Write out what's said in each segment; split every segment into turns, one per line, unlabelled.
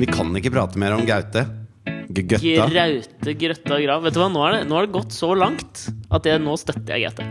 Vi kan ikke prate mer om Gaute. G- Gøtta.
Graute, grøtta og grav. Vet du hva, nå er, det, nå er det gått så langt at jeg, nå støtter jeg GT.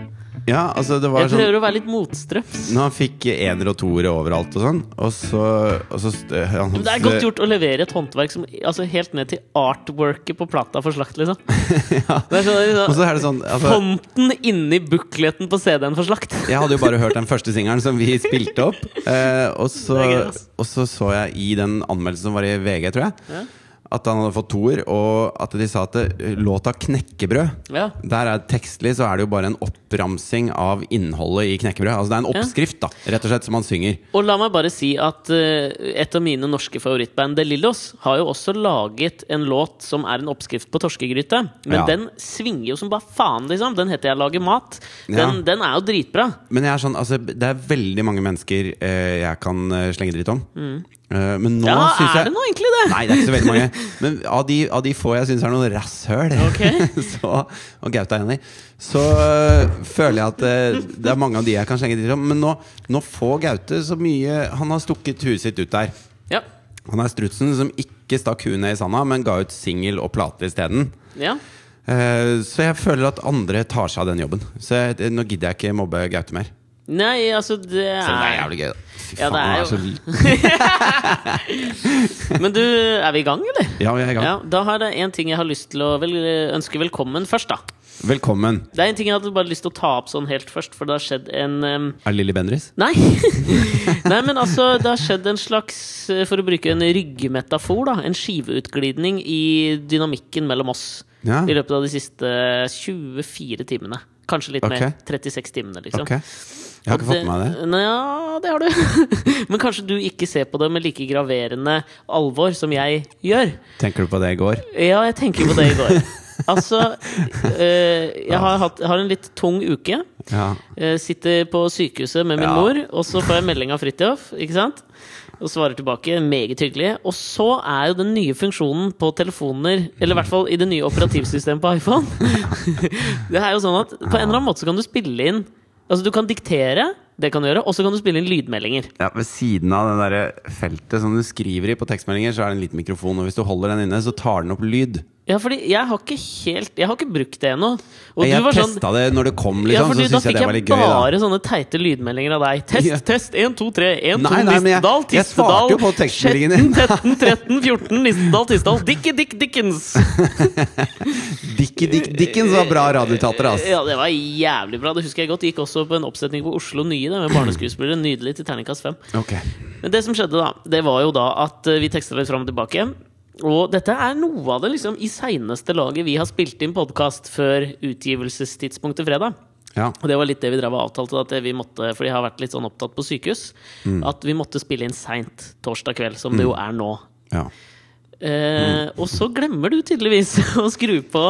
Ja, altså det var
Jeg
sånn
prøver å være litt motstrøms.
Når han fikk ener og toere overalt og sånn, og så, og så st- han,
Men det er godt gjort å levere et håndverk som altså, helt ned til artworket på plata for slakt, liksom. Det er sånn,
Og
liksom
så er det sånn altså,
Fonten inni bukleten på CD-en for slakt.
Jeg hadde jo bare hørt den første singelen som vi spilte opp. Eh, og, så,
Det er gøy, ass.
og så så jeg i den anmeldelsen som var i VG, tror jeg, at han hadde fått toer, og at de sa at det- låta 'Knekkebrød'
Ja.
Der er Tekstlig så er det jo bare en oppramsing av innholdet i knekkebrød. Altså Det er en oppskrift, da, rett og slett, som han synger.
Og la meg bare si at eh, et av mine norske favorittband, De Lillos, har jo også laget en låt som er en oppskrift på torskegryte. Men
Ja.
den svinger jo som bare faen, liksom. Den heter 'Jeg lager mat'. Den,
Ja.
den er jo dritbra.
Men jeg er sånn, altså, det er veldig mange mennesker eh, jeg kan eh, slenge dritt om. Eh, men nå
Ja,
syns
er
jeg
det nå egentlig det?
Nei, det er ikke så veldig mange. Men av de, av de få jeg syns er noen rasshøl,
Ok.
så, og Gaute er enig, så øh, føler jeg at øh, det er mange av de jeg kan slenge dritt om. Men nå, nå får Gaute så mye Han har stukket huet sitt ut der.
Ja.
Han er strutsen som ikke stakk huet ned i sanda, men ga ut singel og plate isteden.
ja.
Uh, så jeg føler at andre tar seg av den jobben. Så jeg, nå gidder jeg ikke mobbe Gaute mer.
Nei, altså det er,
Selv om det er jævlig gøy, da. Fy
Ja, det
faen, altså,
er
han
jo-
så liten.
Men du, er vi i gang, eller?
Ja, vi er i gang.
Ja, da har jeg en ting jeg har lyst til å vel, ønske velkommen først, da.
Velkommen.
Det er en ting jeg hadde bare lyst til å ta opp sånn helt først, for det har skjedd en em,
Er det Lilly Bendriss?
Nei! Nei, men altså, det har skjedd en slags, eh, for å bruke en ryggmetafor, da, en skiveutglidning i dynamikken mellom oss
Ja.
i løpet av de siste 24 timene. Kanskje litt
Ok.
mer. 36 timene, liksom.
Ok. Jeg har ikke fått med meg det.
Nja, det har du. Men kanskje du ikke ser på det med like graverende alvor som jeg gjør.
Tenker du på det i går?
Ja, jeg tenker på det i går. Altså, eh, jeg har, hatt, har en litt tung uke.
Ja.
Eh, sitter på sykehuset med min
Ja.
mor, og så får jeg melding av Fridtjof. Ikke sant? Og svarer tilbake. Meget hyggelig. Og så er jo den nye funksjonen på telefoner, eller i hvert fall i det nye operativsystemet på iPhone Det er jo sånn at på en eller annen måte så kan du spille inn Altså, du kan diktere, det kan du gjøre, og så kan du spille inn lydmeldinger.
Ja, Ved siden av det der feltet som du skriver i på tekstmeldinger, så er det en liten mikrofon. Og hvis du holder den inne, så tar den opp lyd.
Ja, fordi jeg har ikke helt Jeg har ikke brukt det ennå. Og
jeg
du var sånn
testa det når det kom,
ja,
liksom,
fordi
så
da
syntes jeg
fikk
det var
jeg
litt gøy. Da.
bare sånne teite lydmeldinger av deg. Test,
Ja.
test! 1, 2, 3. 1, 2,
Nei, nei, men jeg-
Nistedal,
jeg svarte
Tistedal.
jo på tekstmeldingene.
13, 13, 14, Nistedal, Tistedal. Dickie Dick Dickens!
Dickie Dick Dickens var bra radioteater, ass.
Ja, det var jævlig bra. Det husker jeg godt. Gikk også på en oppsetning på Oslo Nye det, med barneskuespillere. Nydelig til terningkast fem.
Ok.
Men det som skjedde, da, det var jo da at eh, vi teksta litt fram og tilbake. Og dette er noe av det liksom i seineste laget vi har spilt inn podkast før utgivelsestidspunktet fredag.
Ja.
Og det var litt det vi drev og avtalte, at vi måtte, fordi jeg har vært litt sånn opptatt på sykehus,
Mm.
at vi måtte spille inn seint torsdag kveld, som det jo er nå.
ja. Mm.
Eh, Og så glemmer du tydeligvis å skru på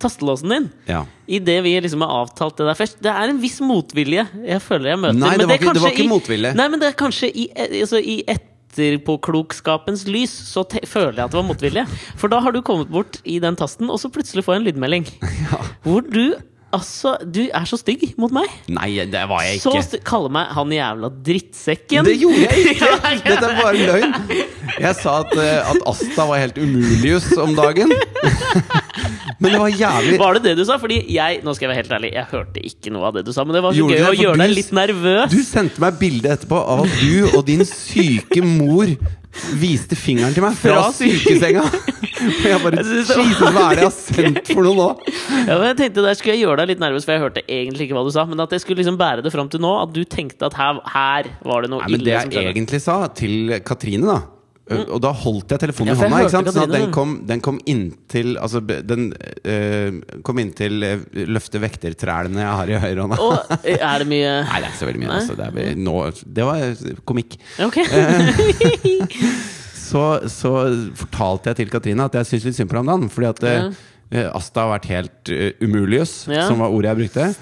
tastelåsen din.
ja.
I det vi liksom har avtalt det der først Det er en viss motvilje jeg føler jeg møter.
Nei, det
men
var
er
ikke- det var
kanskje
ikke
i-
motvilje.
Nei, men det er kanskje i, altså, i etterpåklokskapens lys så te føler jeg at det var motvilje. For da har du kommet bort i den tasten, og så plutselig får jeg en lydmelding. Hvor du altså Du er så stygg mot meg.
Nei, det var jeg
Så
ikke.
stygg. Kaller meg han jævla drittsekken.
Det gjorde jeg ikke!
Ja, ja.
Dette er bare løgn. Jeg sa at, eh, at Asta var helt umulius om dagen. Men det var jævlig
Var det det du sa? Fordi jeg nå skal jeg være helt ærlig, jeg hørte ikke noe av det du sa. Men det var så
Gjorde
gøy
du det?
å
For
gjøre
du-
deg litt nervøs.
Du sendte meg bilde etterpå av at du og din syke mor viste fingeren til meg fra
Fra syke-
sykesenga. Og jeg bare
Jeg synes det var
Jesus, hva er det jeg har sendt for noe nå?
Ja, men jeg tenkte Der skulle jeg gjøre deg litt nervøs, for jeg hørte egentlig ikke hva du sa. Men at jeg skulle liksom bære det fram til nå, at du tenkte at her, her var det noe
Nei, men
ille
Det
som
jeg
skjedde. Mm.
egentlig sa til Katrine, da og da holdt jeg telefonen
Ja,
i
for jeg
hånda,
hørte
ikke sant? sånn at
Katrine,
den
den.
kom, den kom inntil altså, be- Den eh, kom inntil eh, løfte vektertrælene jeg har i høyrehånda.
Og eh, er det mye
Nei, det er ikke så veldig mye.
Nei.
Altså. Det, er, vel- nå, det var komikk.
Ok.
så, så fortalte jeg til Katrine at jeg syns litt synd på ham da. Fordi at eh, eh, Asta har vært helt eh, umuliøs,
Ja.
som var ordet jeg brukte.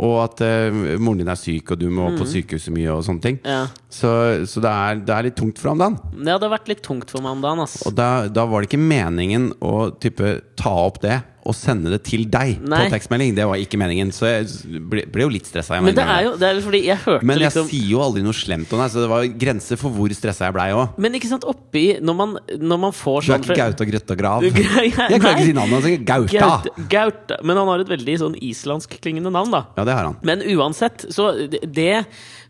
Og at eh, moren din er syk, og du må på sykehuset mye og sånne ting.
Mm. Ja.
Så, så det, er, det er litt tungt for ham da.
Det hadde vært litt tungt for meg om dagen, ass.
Og da, da var det ikke meningen å type ta opp det å sende det til deg
Nei.
på tekstmelding. Det var ikke meningen, så jeg ble, ble jo litt stressa.
Men det er jo det er jo fordi jeg hørte
Men jeg
liksom
sier jo aldri noe slemt om deg, så det var grenser for hvor stressa jeg blei òg.
Men ikke sant, oppi Når man, når man får
Du er
sånn
ikke Gaute og Grøtta Grav.
Du-
Jeg klarer ikke å si navnet altså. hans. jeg er Gauta!
Gaute. Gaute. Men han har et veldig sånn islandskklingende navn, da.
Ja, det har han.
Men uansett, så det- det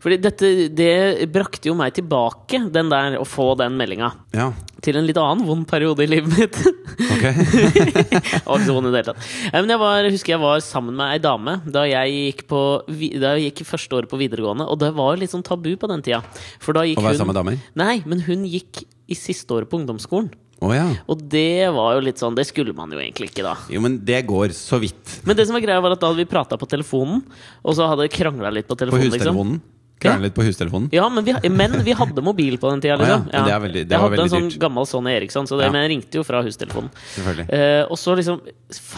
Fordi dette det brakte jo meg tilbake, den der, å få den meldinga.
Ja,
Til en litt annen vond periode i livet mitt.
ok
Jeg var ikke så vond i det hele tatt. Nei, Men jeg var, husker jeg var sammen med ei dame da jeg gikk på vi- Da jeg gikk første året på videregående, og det var litt sånn tabu på den tida. For da gikk
Å være
hun
sammen med damer?
Nei, men hun gikk i siste året på ungdomsskolen.
Å ja.
Og det var jo litt sånn Det skulle man jo egentlig ikke, da.
Jo, men det går så vidt.
Men det som var greia var at da hadde vi prata på telefonen, og så hadde vi krangla litt på
På
telefonen. liksom.
hustelefonen. Krangler litt på hustelefonen.
Ja, men vi, men vi hadde mobil på den tida.
Å ja,
Liksom.
men det er veldig- det
jeg
var
hadde en
veldig
sånn
dyrt.
gammel Sony Eriksson, så det,
Ja.
men jeg ringte jo fra hustelefonen.
Selvfølgelig.
Eh, og så liksom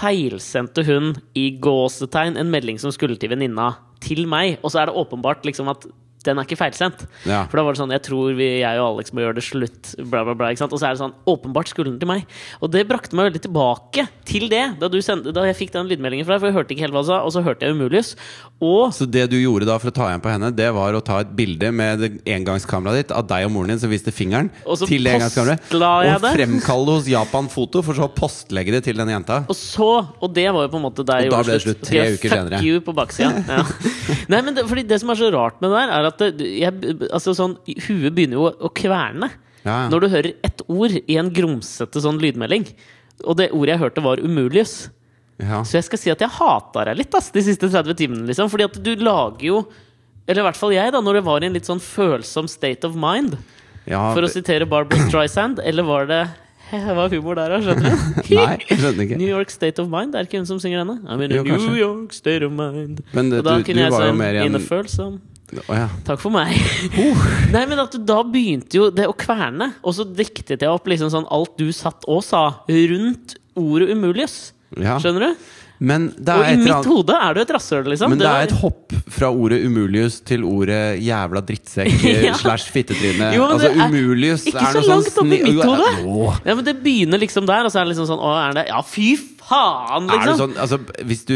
feilsendte hun i gåsetegn en melding som skulle til venninna, til meg. Og så er det åpenbart liksom at den er ikke feilsendt.
Ja.
For da var det sånn Jeg tror vi, jeg og Alex må gjøre det slutt. Bla, bla, bla. Ikke sant? Og så er det sånn Åpenbart skulle den til meg. Og det brakte meg veldig tilbake til det, da, du sendte, da jeg fikk den lydmeldingen fra deg. For jeg hørte ikke helt hva du sa, og så hørte jeg Umulius. Og
Så det du gjorde da for å ta igjen på henne, det var å ta et bilde med det engangskameraet ditt av deg og moren din som viste fingeren
Og så
til det engangskameraet.
postla jeg
Og
det.
fremkalle det hos Japan Foto, for så å postlegge det til denne jenta.
Og så, og det var jo på en måte der
Og
jeg
da
gjorde
ble det slutt, tre
Skrev
uker senere.
Fuck you på baksida. Ja. Nei, men det, fordi det som er så rart med det der, er at det, jeg, altså sånn, huet begynner jo å, å kverne.
Ja, ja.
Når du hører ett ord i en grumsete sånn lydmelding. Og det ordet jeg hørte, var 'umulius'.
Ja.
Så jeg skal si at jeg hata deg litt ass, de siste 30 timene. Liksom, fordi at du lager jo Eller i hvert fall jeg, da, når det var i en litt sånn følsom state of mind.
Ja,
For å sitere Barbara Streisand. Eller var det Hva er humor der, da? Skjønner du?
Nei, jeg skjønner ikke.
New York State of Mind, det er ikke hun som synger denne? I'm in a
Jo,
New
kanskje.
York State of Mind.
Men det-
og da
du- du
kunne jeg
var jo
sånn
mer i en-
innefølsom.
Å ja.
Takk for meg. Nei, men at du, da begynte jo det å kverne. Og så diktet jeg opp liksom sånn alt du satt og sa rundt ordet 'umulius'.
Ja.
Skjønner du?
Men det
Og
er et
i
eller
mitt
annet
hode er du et rasshøl, liksom.
men det er et
var-
hopp fra ordet 'umulius' til ordet 'jævla drittsekk'
Ja.
slash fittetryne.
Jo, men
Altså,
det er
'umulius'
ikke
er
så
noe sånn
langt opp i
sni-
mitt
Jo,
hode.
Åh.
ja, men det begynner liksom der, og så er det liksom sånn Å, er det Ja, fy
Er
faen,
det
liksom!
sånn, altså, hvis, du,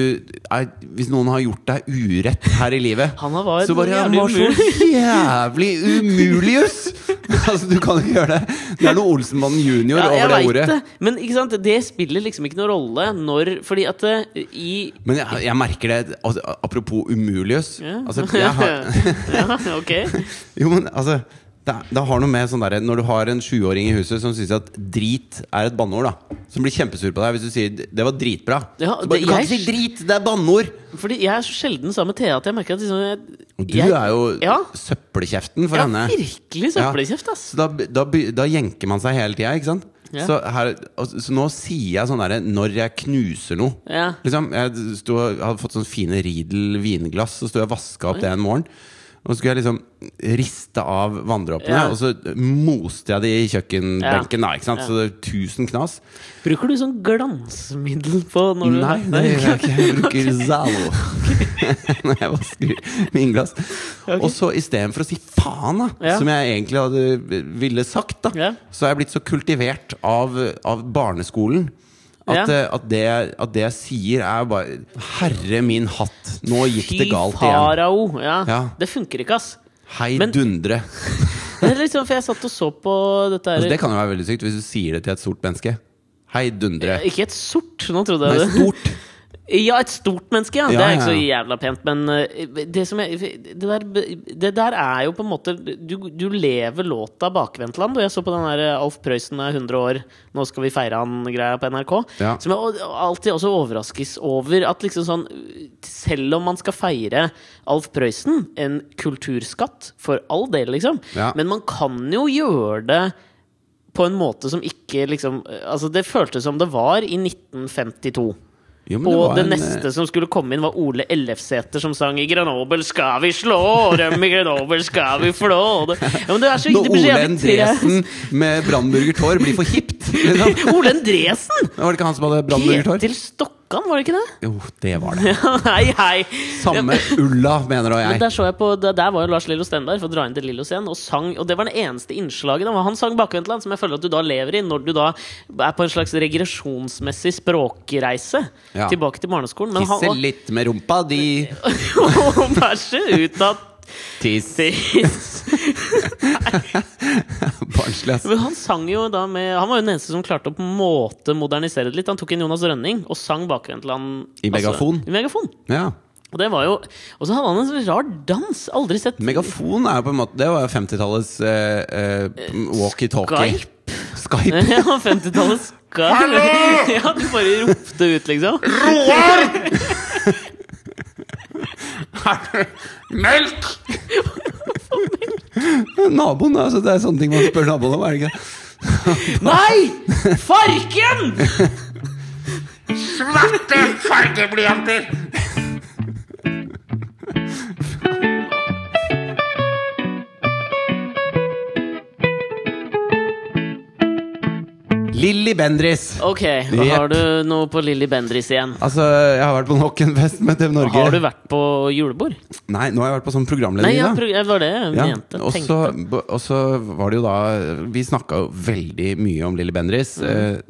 er, hvis noen har gjort deg urett her i livet
Han var
Så bare Han
jævlig
var så jævlig umulius! altså, du kan ikke gjøre det. Det er noe Olsenmannen junior
Ja, jeg
over det
vet
ordet.
det. Men ikke sant? det spiller liksom ikke noen rolle når Fordi at eh, i
Men jeg, jeg merker det altså, Apropos umulius.
ja.
Altså, jeg har,
ja, ok.
jo, men altså det, er- det har noe med sånn derre Når du har en sjuåring i huset som syns at drit er et banneord, da. Som blir kjempesur på deg hvis du sier 'det var dritbra'.
Ja,
så bare,
det-
du kan
jeg-
ikke si drit! Det er banneord!
Fordi jeg er så sjelden sammen med Thea at jeg merker at liksom jeg,
Og du
jeg,
er jo
Ja,
søppelkjeften for
jeg
henne.
er virkelig søppelkjeft, ass.
Så da, da, by- da jenker man seg hele tida, ikke sant?
Ja.
Så, her, altså, så nå sier jeg sånn derre når jeg knuser noe.
Ja.
Liksom, jeg sto, og- hadde fått sånne fine Riedel vinglass, så sto jeg og vaska opp det en morgen. Og så skulle jeg liksom riste av vanndråpene,
Ja.
og så moste jeg de i kjøkkenbenken. da, ikke sant?
Ja.
Så det er tusen knas.
Bruker du sånn glansmiddel på når du
Nei, det gjør jeg ikke. Jeg bruker Zalo når jeg vasker vinglass. Og så istedenfor å si faen, da,
Ja.
som jeg egentlig hadde ville sagt, da,
Ja.
så er jeg blitt så kultivert av, av barneskolen. At,
Ja.
eh, at, det, at det jeg sier, er bare Herre min hatt, nå gikk det galt
Fy
igjen.
farao. Ja.
Ja.
Det funker ikke, ass.
Hei
Men-
dundre.
Det er liksom, for jeg satt og så på dette her
Altså, det kan jo være veldig sykt hvis du sier det til et stort menneske. Hei dundre.
Ikke et sort, nå trodde
Nei,
jeg det.
stort.
Ja, et stort menneske, ja.
Ja,
det er
ja,
ikke så
ja.
jævla pent, men eh, det, som jeg, det, der, det der er jo på en måte Du, du lever låta Bakvendtland. Og jeg så på den der eh, Alf Prøysen er 100 år, nå skal vi feire han-greia på NRK.
Ja.
Som jeg al- alltid også overraskes over. At liksom sånn Selv om man skal feire Alf Prøysen, en kulturskatt, for all del, liksom,
Ja.
men man kan jo gjøre det på en måte som ikke liksom Altså, det føltes som det var i 1952.
Jo, men
Og
var
det
en, eh,
neste som skulle komme inn, var Ole Ellefsæter som sang 'I Grenoble skal vi slå dem, i Grenoble skal vi flå dem'. Ja, men det er så
Når
det blir så
Ole
jævlig
Endresen med brannburgertår blir for hipt! Liksom.
trist. Ole Endresen!
Var det ikke han som hadde brannburgertår?
Ketil Stokk Røkkan, var det ikke det?
Jo, det var det.
hei, hei!
Samme Ulla, mener du og
Men
jeg.
der, så jeg på, der, der var jo Lars Lillo Stendar, for å dra inn til Lillos igjen, og sang. Og det var det eneste innslaget. Da. Han sang Bakvendtland, som jeg føler at du da lever i når du da er på en slags regresjonsmessig språkreise
Ja.
tilbake til barneskolen. Men
Tisse
han,
litt med rumpa di,
og, og bæsje ut av
tiss
tiss.
Barnslig, ass.
Men han sang jo da med Han var jo den eneste som klarte å på en måte modernisere det litt. Han tok inn Jonas Rønning og sang Bakvendtland.
I megafon.
I megafon.
Ja.
Og det var jo Og så hadde han en så rar dans! Aldri sett
Megafon er jo på en måte Det var jo 50-tallets eh, eh, walkietalkie.
Skype.
Skype.
Ja, 50-tallet skal Ja, du bare ropte ut, liksom.
Melk! Naboen, altså. Det er sånne ting man spør naboen om, er det ikke?
Nei! Farken!
Svarte fargeblyanter!
Lilly Bendris.
Ok, da
Yep.
har du noe på Lilly Bendris igjen.
Altså, jeg har vært på nok en fest med TV Norge.
Har du vært på julebord?
Nei, nå har jeg vært på sånn programleder.
Nei, ja, pro- det var det jeg
Ja,
mente.
og
tenkte.
så- b- Og så var det jo da Vi snakka jo veldig mye om Lilly Bendriss.
Mm.
Eh,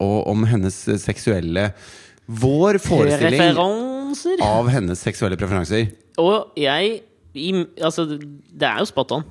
og om hennes eh, seksuelle Vår forestilling
Referanser.
av hennes seksuelle preferanser.
Og jeg i, Altså, det er jo spot on.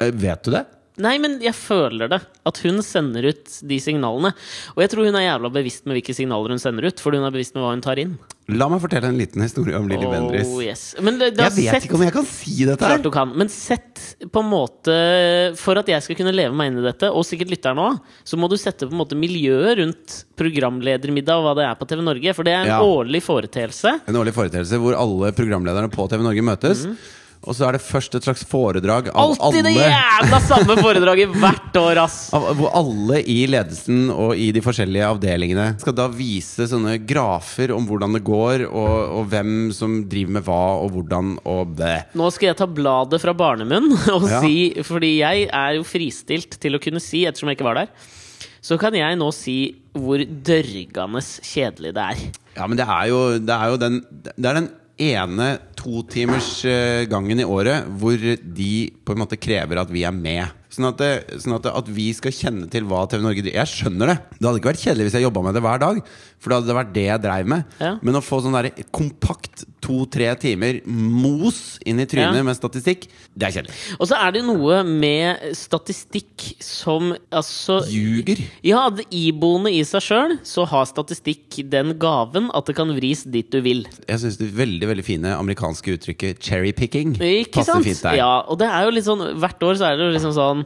Eh, vet du det?
Nei, men jeg føler det. At hun sender ut de signalene. Og jeg tror hun er jævla bevisst med hvilke signaler hun sender ut. Fordi hun er bevisst med hva hun tar inn.
La meg fortelle en liten historie om Lilly Bendriss.
Oh, yes. Men det, det
Jeg
har
vet
sett
ikke om jeg kan si dette her!
Klart du kan. Men sett på en måte For at jeg skal kunne leve meg inn i dette, og sikkert lytteren òg, så må du sette på en måte miljøet rundt programledermiddag og hva det er på TV Norge. For det er en
Ja.
årlig foreteelse.
En årlig foreteelse hvor alle programlederne på TV Norge møtes. Og så er det først et slags foredrag av
Mm. Alltid det
alle
jævla samme foredraget hvert år, ass!
av, hvor alle i ledelsen og i de forskjellige avdelingene skal da vise sånne grafer om hvordan det går, og, og hvem som driver med hva, og hvordan, og bæ.
Nå skal jeg ta bladet fra barnemunn og
Ja.
si Fordi jeg er jo fristilt til å kunne si, ettersom jeg ikke var der, så kan jeg nå si hvor dørgende kjedelig det er.
Ja, men det er jo, det er jo den, det er den ene totimersgangen i året hvor de på en måte krever at vi er med. Sånn at, det, sånn at, det, at vi skal kjenne til hva TV Norge driver Jeg skjønner det! Det hadde ikke vært kjedelig hvis jeg jobba med det hver dag. For da hadde det vært det jeg dreiv med.
Ja.
Men å få sånn der kompakt to-tre timer mos inn i trynet
Ja.
med statistikk, det er kjedelig.
Og så er det noe med statistikk som altså
Ljuger.
Ja, det iboende i seg sjøl, så har statistikk den gaven at det kan vris dit du vil.
Jeg syns det veldig veldig fine amerikanske uttrykket 'cherry picking'
Ikke
passer
sant?
fint der.
Ja, og det er jo litt sånn Hvert år så er det jo liksom sånn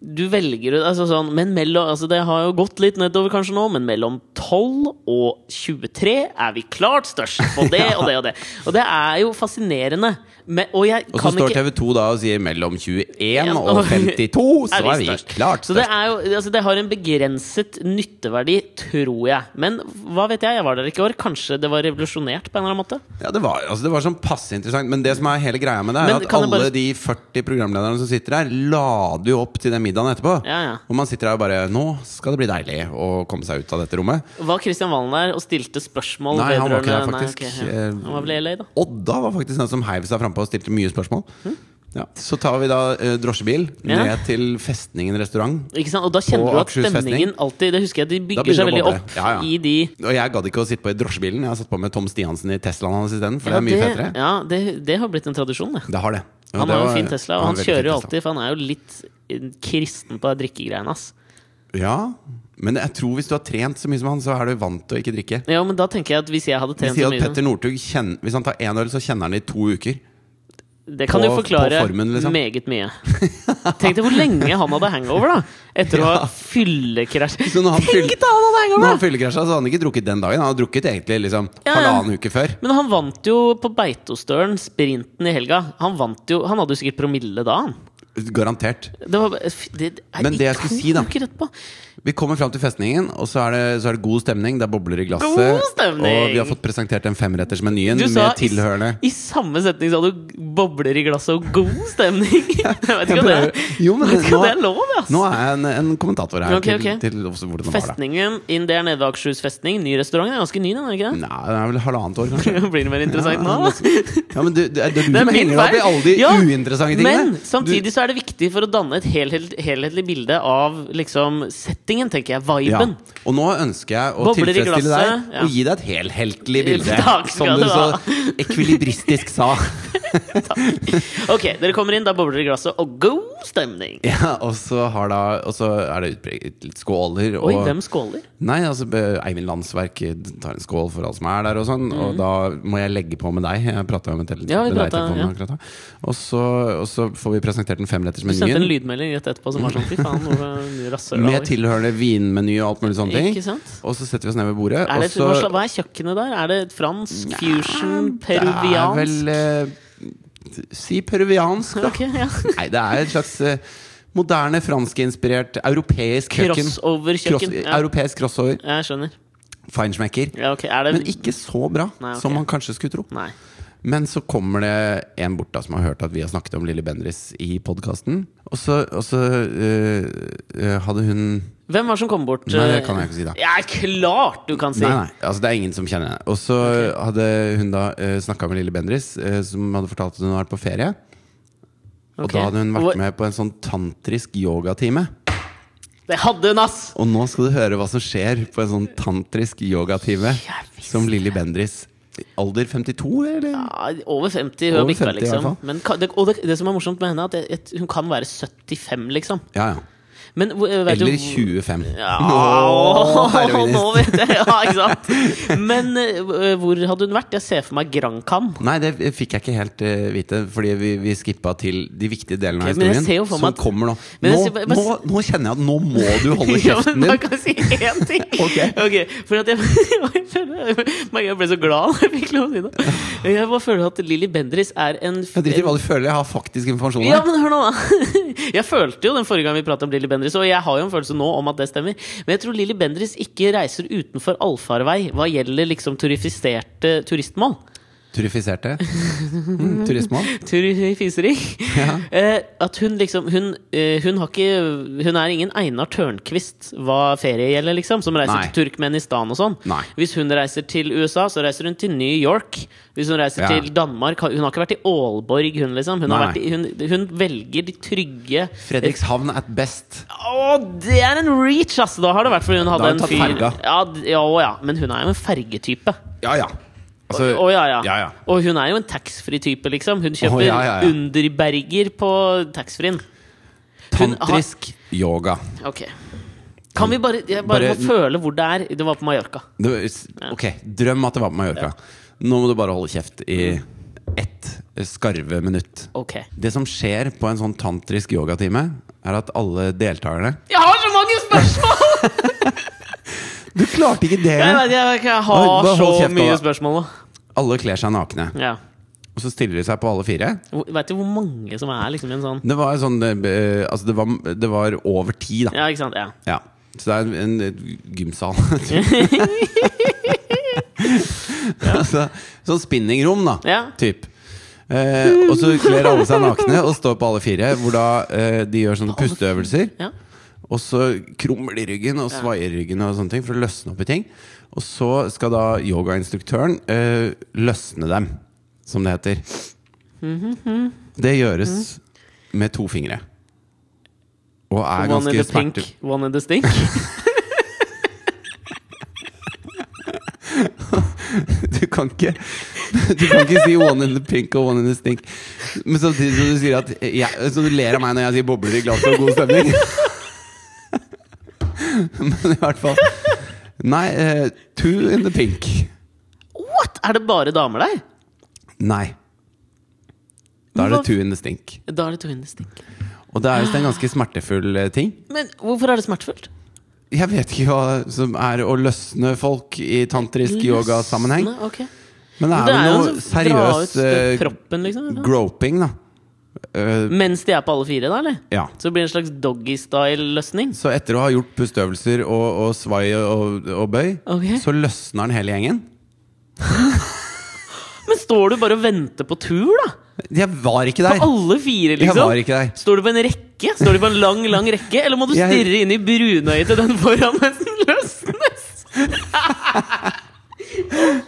Du velger ut altså sånn Men mellom Altså, det har jo gått litt nedover kanskje nå, men mellom 12 og 23 er vi klart størst på det og det og det. Og det er jo fascinerende. Men, og jeg
Og så
kan
står
ikke
TV 2 da og sier mellom 21
Ja,
og
og-
52, så er vi
størst.
klart
Så det,
størst.
er jo, altså det har en begrenset nytteverdi, tror jeg. Men hva vet jeg, jeg var der ikke i år. Kanskje det var revolusjonert på en eller annen måte?
Ja, det var, altså det var sånn passe interessant, men det som er hele greia med det, er
Men
at
kan jeg
alle
bare-
de 40 programlederne som sitter her, lader jo opp til den middagen etterpå.
Ja, ja.
Og man sitter her og bare Nå skal det bli deilig å komme seg ut av dette rommet.
Var Kristian Valen der og stilte spørsmål?
Nei, han var ikke
vedrørende-
der, faktisk. Eh,
Nei, ok, ja. Han var vel i LA, da.
Odda var faktisk den som heiv seg frampå og stilte mye spørsmål. Ja. Så tar vi da eh, drosjebil
Hm? Ja.
ned til Festningen restaurant.
Ikke sant? Og da kjenner
På
du at
Akershus festning.
stemningen alltid Det husker jeg, de
Da
bygger
begynner
seg
det
veldig
å boble.
opp
Ja, ja.
i de
Og jeg gadd ikke å sitte på i drosjebilen. Jeg har satt på med Tom Stiansen i Teslaen hans isteden, for det er mye
Ja,
fettere.
Ja, det, det har blitt en tradisjon, det.
Det har det. Ja,
Han
det
har jo
var-
fin Tesla,
han
og han
har veldig fin
kjører jo
Tesla.
alltid, for han er jo litt eh, kristen på drikkegreiene, ass.
Ja, men jeg tror hvis du har trent så mye som han, så er du vant til å ikke drikke.
Ja, men da tenker jeg at hvis jeg hadde
De
trent
sier
så
at
mye
Petter Northug kjenner- Hvis han tar én øl, så kjenner han det i to uker.
Det kan
på-
jo forklare
på formen, liksom.
meget mye. Tenk deg hvor lenge han hadde hangover, da! Etter å ha fyllekrasj.
Så når han fyll-
Tenk at han hadde
Når han
hangover! da!
fyllekrasja, så hadde han ikke drukket den dagen. Han hadde drukket egentlig liksom
Ja, ja.
halvannen uke før.
Men han vant jo på Beitostølen, sprinten i helga. Han vant jo, han hadde jo sikkert promille da, han.
Garantert.
Det var, det,
Men det jeg skulle si, da.
Uker etterpå.
Vi kommer fram til festningen, og så er, det, så er det god stemning. Det er bobler i glasset.
God stemning!
Og vi har fått presentert den femrettersmenyen
Du
med
sa
tilhørende
I samme setning sa du 'bobler i glasset og god stemning'. Jeg vet ikke om det,
Jeg prøver- Jo, men
jeg vet ikke om
nå-
det er lov, ass.
Nå er jeg en, en kommentator her.
Ok, ok.
Til, til også hvordan var det.
Festningen inn der nede ved Akershus festning, ny restaurant, den er ganske ny, den, er det ikke det?
Nei, det er vel halvannet år, kanskje.
Blir det mer interessant
Mm. Ja,
nå? da?
Ja, men du, det er det er du
Det er
som
min
henger deg opp i
feil.
alle de
Ja,
uinteressante tingene.
Men samtidig så er det viktig for å danne et helhet, helhetlig bilde av liksom settingen, tenker jeg.
Ja.
Viben.
Og nå ønsker jeg å
Bobler i
tilfredsstille
glasset,
deg
ja.
og gi deg et helheltlig bilde.
Takk skal
som du
du ha.
så ekvilibristisk sa.
Ok, dere kommer inn, da bobler det i glasset, og god stemning!
Ja, og så, har da, og så er det utpreget litt skåler. Og,
Oi, hvem skåler?
Nei, altså eh, Eivind Landsverk eh, tar en skål for alle som er der, og sånn. Og da må jeg legge på med deg. Jeg prata med, tele
Mm. Ja, vi
med deg i
pratet,
telefonen
ja.
akkurat da. Og så, og så får vi presentert den
Du sendte en
femrettersmenyen.
lydmelding rett etterpå som var sånn fy faen, noe rasshøl.
Med tilhørende vinmeny og alt mulig sånne ting.
Ikke sant?
Og så setter vi oss ned ved bordet.
Er det,
og så,
hva sla- hva er kjøkkenet der? Er det fransk, fusion,
Ah, Det
peruviansk?
er vel eh, Si peruviansk, da.
Ok, ja.
Nei, det er et slags eh, moderne franskinspirert europeisk kjøkken.
Crossover-kjøkken.
Cross-
Ja,
Europeisk crossover.
jeg skjønner.
Feinschmecker.
Ja, ok, er det
Men ikke så bra
Nei, ok.
som man kanskje skulle tro.
Nei.
Men så kommer det en bort da som har hørt at vi har snakket om Lille Bendriss i podkasten. Og så, og så eh, eh, hadde hun
Hvem var det som kom bort?
Nei, det kan jeg ikke si, da.
Ja, klart du kan si!
Nei, nei, altså det er ingen som kjenner henne. Og så hadde hun da uh, snakka med Lille Bendriss, eh, som hadde fortalt at hun hadde vært på ferie. Og
Ok.
da hadde hun vært
Hvor-
med på en sånn tantrisk yogatime.
Det hadde hun, ass!
Og nå skal du høre hva som skjer på en sånn tantrisk yogatime
Jeg visste
som Lilly Bendriss. Alder 52, eller?
Ja, over 50, hun har
Over 50 i
bikka,
hvert
liksom.
fall.
Men, ka- det, og det, det som er morsomt med henne, er at jeg, jeg, hun kan være 75, liksom.
Ja, ja.
Men hvor- vet du
Eller
hvor-
25.
Ja,
Åh, heroinist.
nå vet jeg! Ja, ikke sant? Men eh, hvor hadde hun vært? Jeg ser for meg Gran Can.
Nei, det fikk jeg ikke helt eh, vite, fordi vi, vi skippa til de viktige delene av
Ok, men jeg
historien.
ser jo for meg
som
at-
kommer nå.
Men
Nå,
jeg ser-
nå, nå kjenner jeg at nå må du holde
Ja,
kjeften
men da
din.
kan jeg si én ting!
Ok.
for at jeg, Merker jeg ble så glad når jeg fikk lov å si det. Jeg bare føler at Lilly Bendriss er en Eh,
Jeg driter i hva du føler, jeg har faktisk informasjon
Ja,
her.
men hør nå da. Jeg følte jo den forrige gang vi pratet om Lilly Bendriss, og jeg har jo en følelse nå om at det stemmer. Men jeg tror Lilly Bendriss ikke reiser utenfor allfarvei hva gjelder liksom turifiserte turistmål.
Turifiserte. Mm, turisme.
Turifisering.
Ja.
Eh, at hun liksom hun, eh, hun har ikke Hun er ingen Einar Tørnquist hva ferie gjelder, liksom. Som reiser
Nei.
til Turkmenistan og sånn.
Nei.
Hvis hun reiser til USA, så reiser hun til New York. Hvis hun reiser
Ja.
til Danmark Hun har ikke vært i Aalborg, hun, liksom. Hun, har
Nei.
vært i, hun, hun velger de trygge
Fredrikshavn at best.
Å, det er en reach, ass! Da har det vært fordi hun
har
hadde
hun
en
tatt
fyr
ferga.
ja, d- ja, å, ja, men hun er jo en fergetype.
Ja, ja. Altså,
Å, ja, ja.
ja, ja.
Og hun er jo en taxfree-type, liksom. Hun kjøper
Å, ja, ja, ja.
underberger på taxfree-en. Hun har-
Tantrisk yoga.
Ok. Kan vi bare Jeg bare,
Bare-
må føle hvor det er. Det var på Mallorca.
Det, var- ok, drøm at det var på Mallorca. Nå må du bare holde kjeft i ett skarve minutt.
Ok.
Det som skjer på en sånn tantrisk yogatime, er at alle deltakerne
Jeg har så mange spørsmål!
Du klarte ikke
Jeg,
det!
vet, jeg, jeg
Oi,
har
bare
så
hold kjeft nå,
mye
da.
spørsmål nå.
Alle kler seg nakne.
Ja.
Og så stiller de seg på alle fire.
Veit du hvor mange som er liksom i en sånn
Det var sånn eh, Altså, det var, det var over ti, da.
Ja, ikke sant? Ja.
Ja. Så det er en, en gymsal. altså, sånn spinningrom, da.
Ja.
Typ. Eh, og så kler alle seg nakne og står på alle fire, hvor da eh, de gjør sånne pusteøvelser.
ja.
Og så krummer de ryggen og svaier ryggen og sånne ting for å løsne opp i ting. Og så skal da yogainstruktøren eh, løsne dem, som det heter.
Mm-hmm.
Det gjøres med to fingre. Og er
One in
ganske
the pink,
smerte...
one in the stink.
Du kan ikke Du kan ikke si 'one in the pink' og 'one in the stink'. Men samtidig som du sier at jeg, Så du ler av meg når jeg sier 'bobler i glasset og god stemning'. Men i hvert fall Nei, eh, 'two in the pink'.
What?! Er det bare damer der?
Nei. Da er det 'two in the stink'.
Da er det to in the stink.
Og det er visst en ganske smertefull eh, ting.
Men hvorfor er det smertefullt?
Jeg vet ikke hva som er å løsne folk i tantrisk yogasammenheng.
Løsne, ok.
Men det er
Men jo
jo
en
noe
sånn dra ut
seriøst eh,
kroppen, liksom.
groping, da. øh,
Mens de er på alle fire, da, eller?
ja.
Så det blir en slags doggystyle-løsning.
Så etter å ha gjort pusteøvelser og, og svai og, og bøy,
Ok.
så løsner han hele gjengen.
Men står du bare og venter på tur, da?
Jeg var ikke der!
På alle fire,
Jeg
liksom?
var ikke der.
Står du på en rekke? Står du på en lang, lang rekke? Eller må du
Jeg-
stirre inn i brunøyet til den foran mens den løsnes?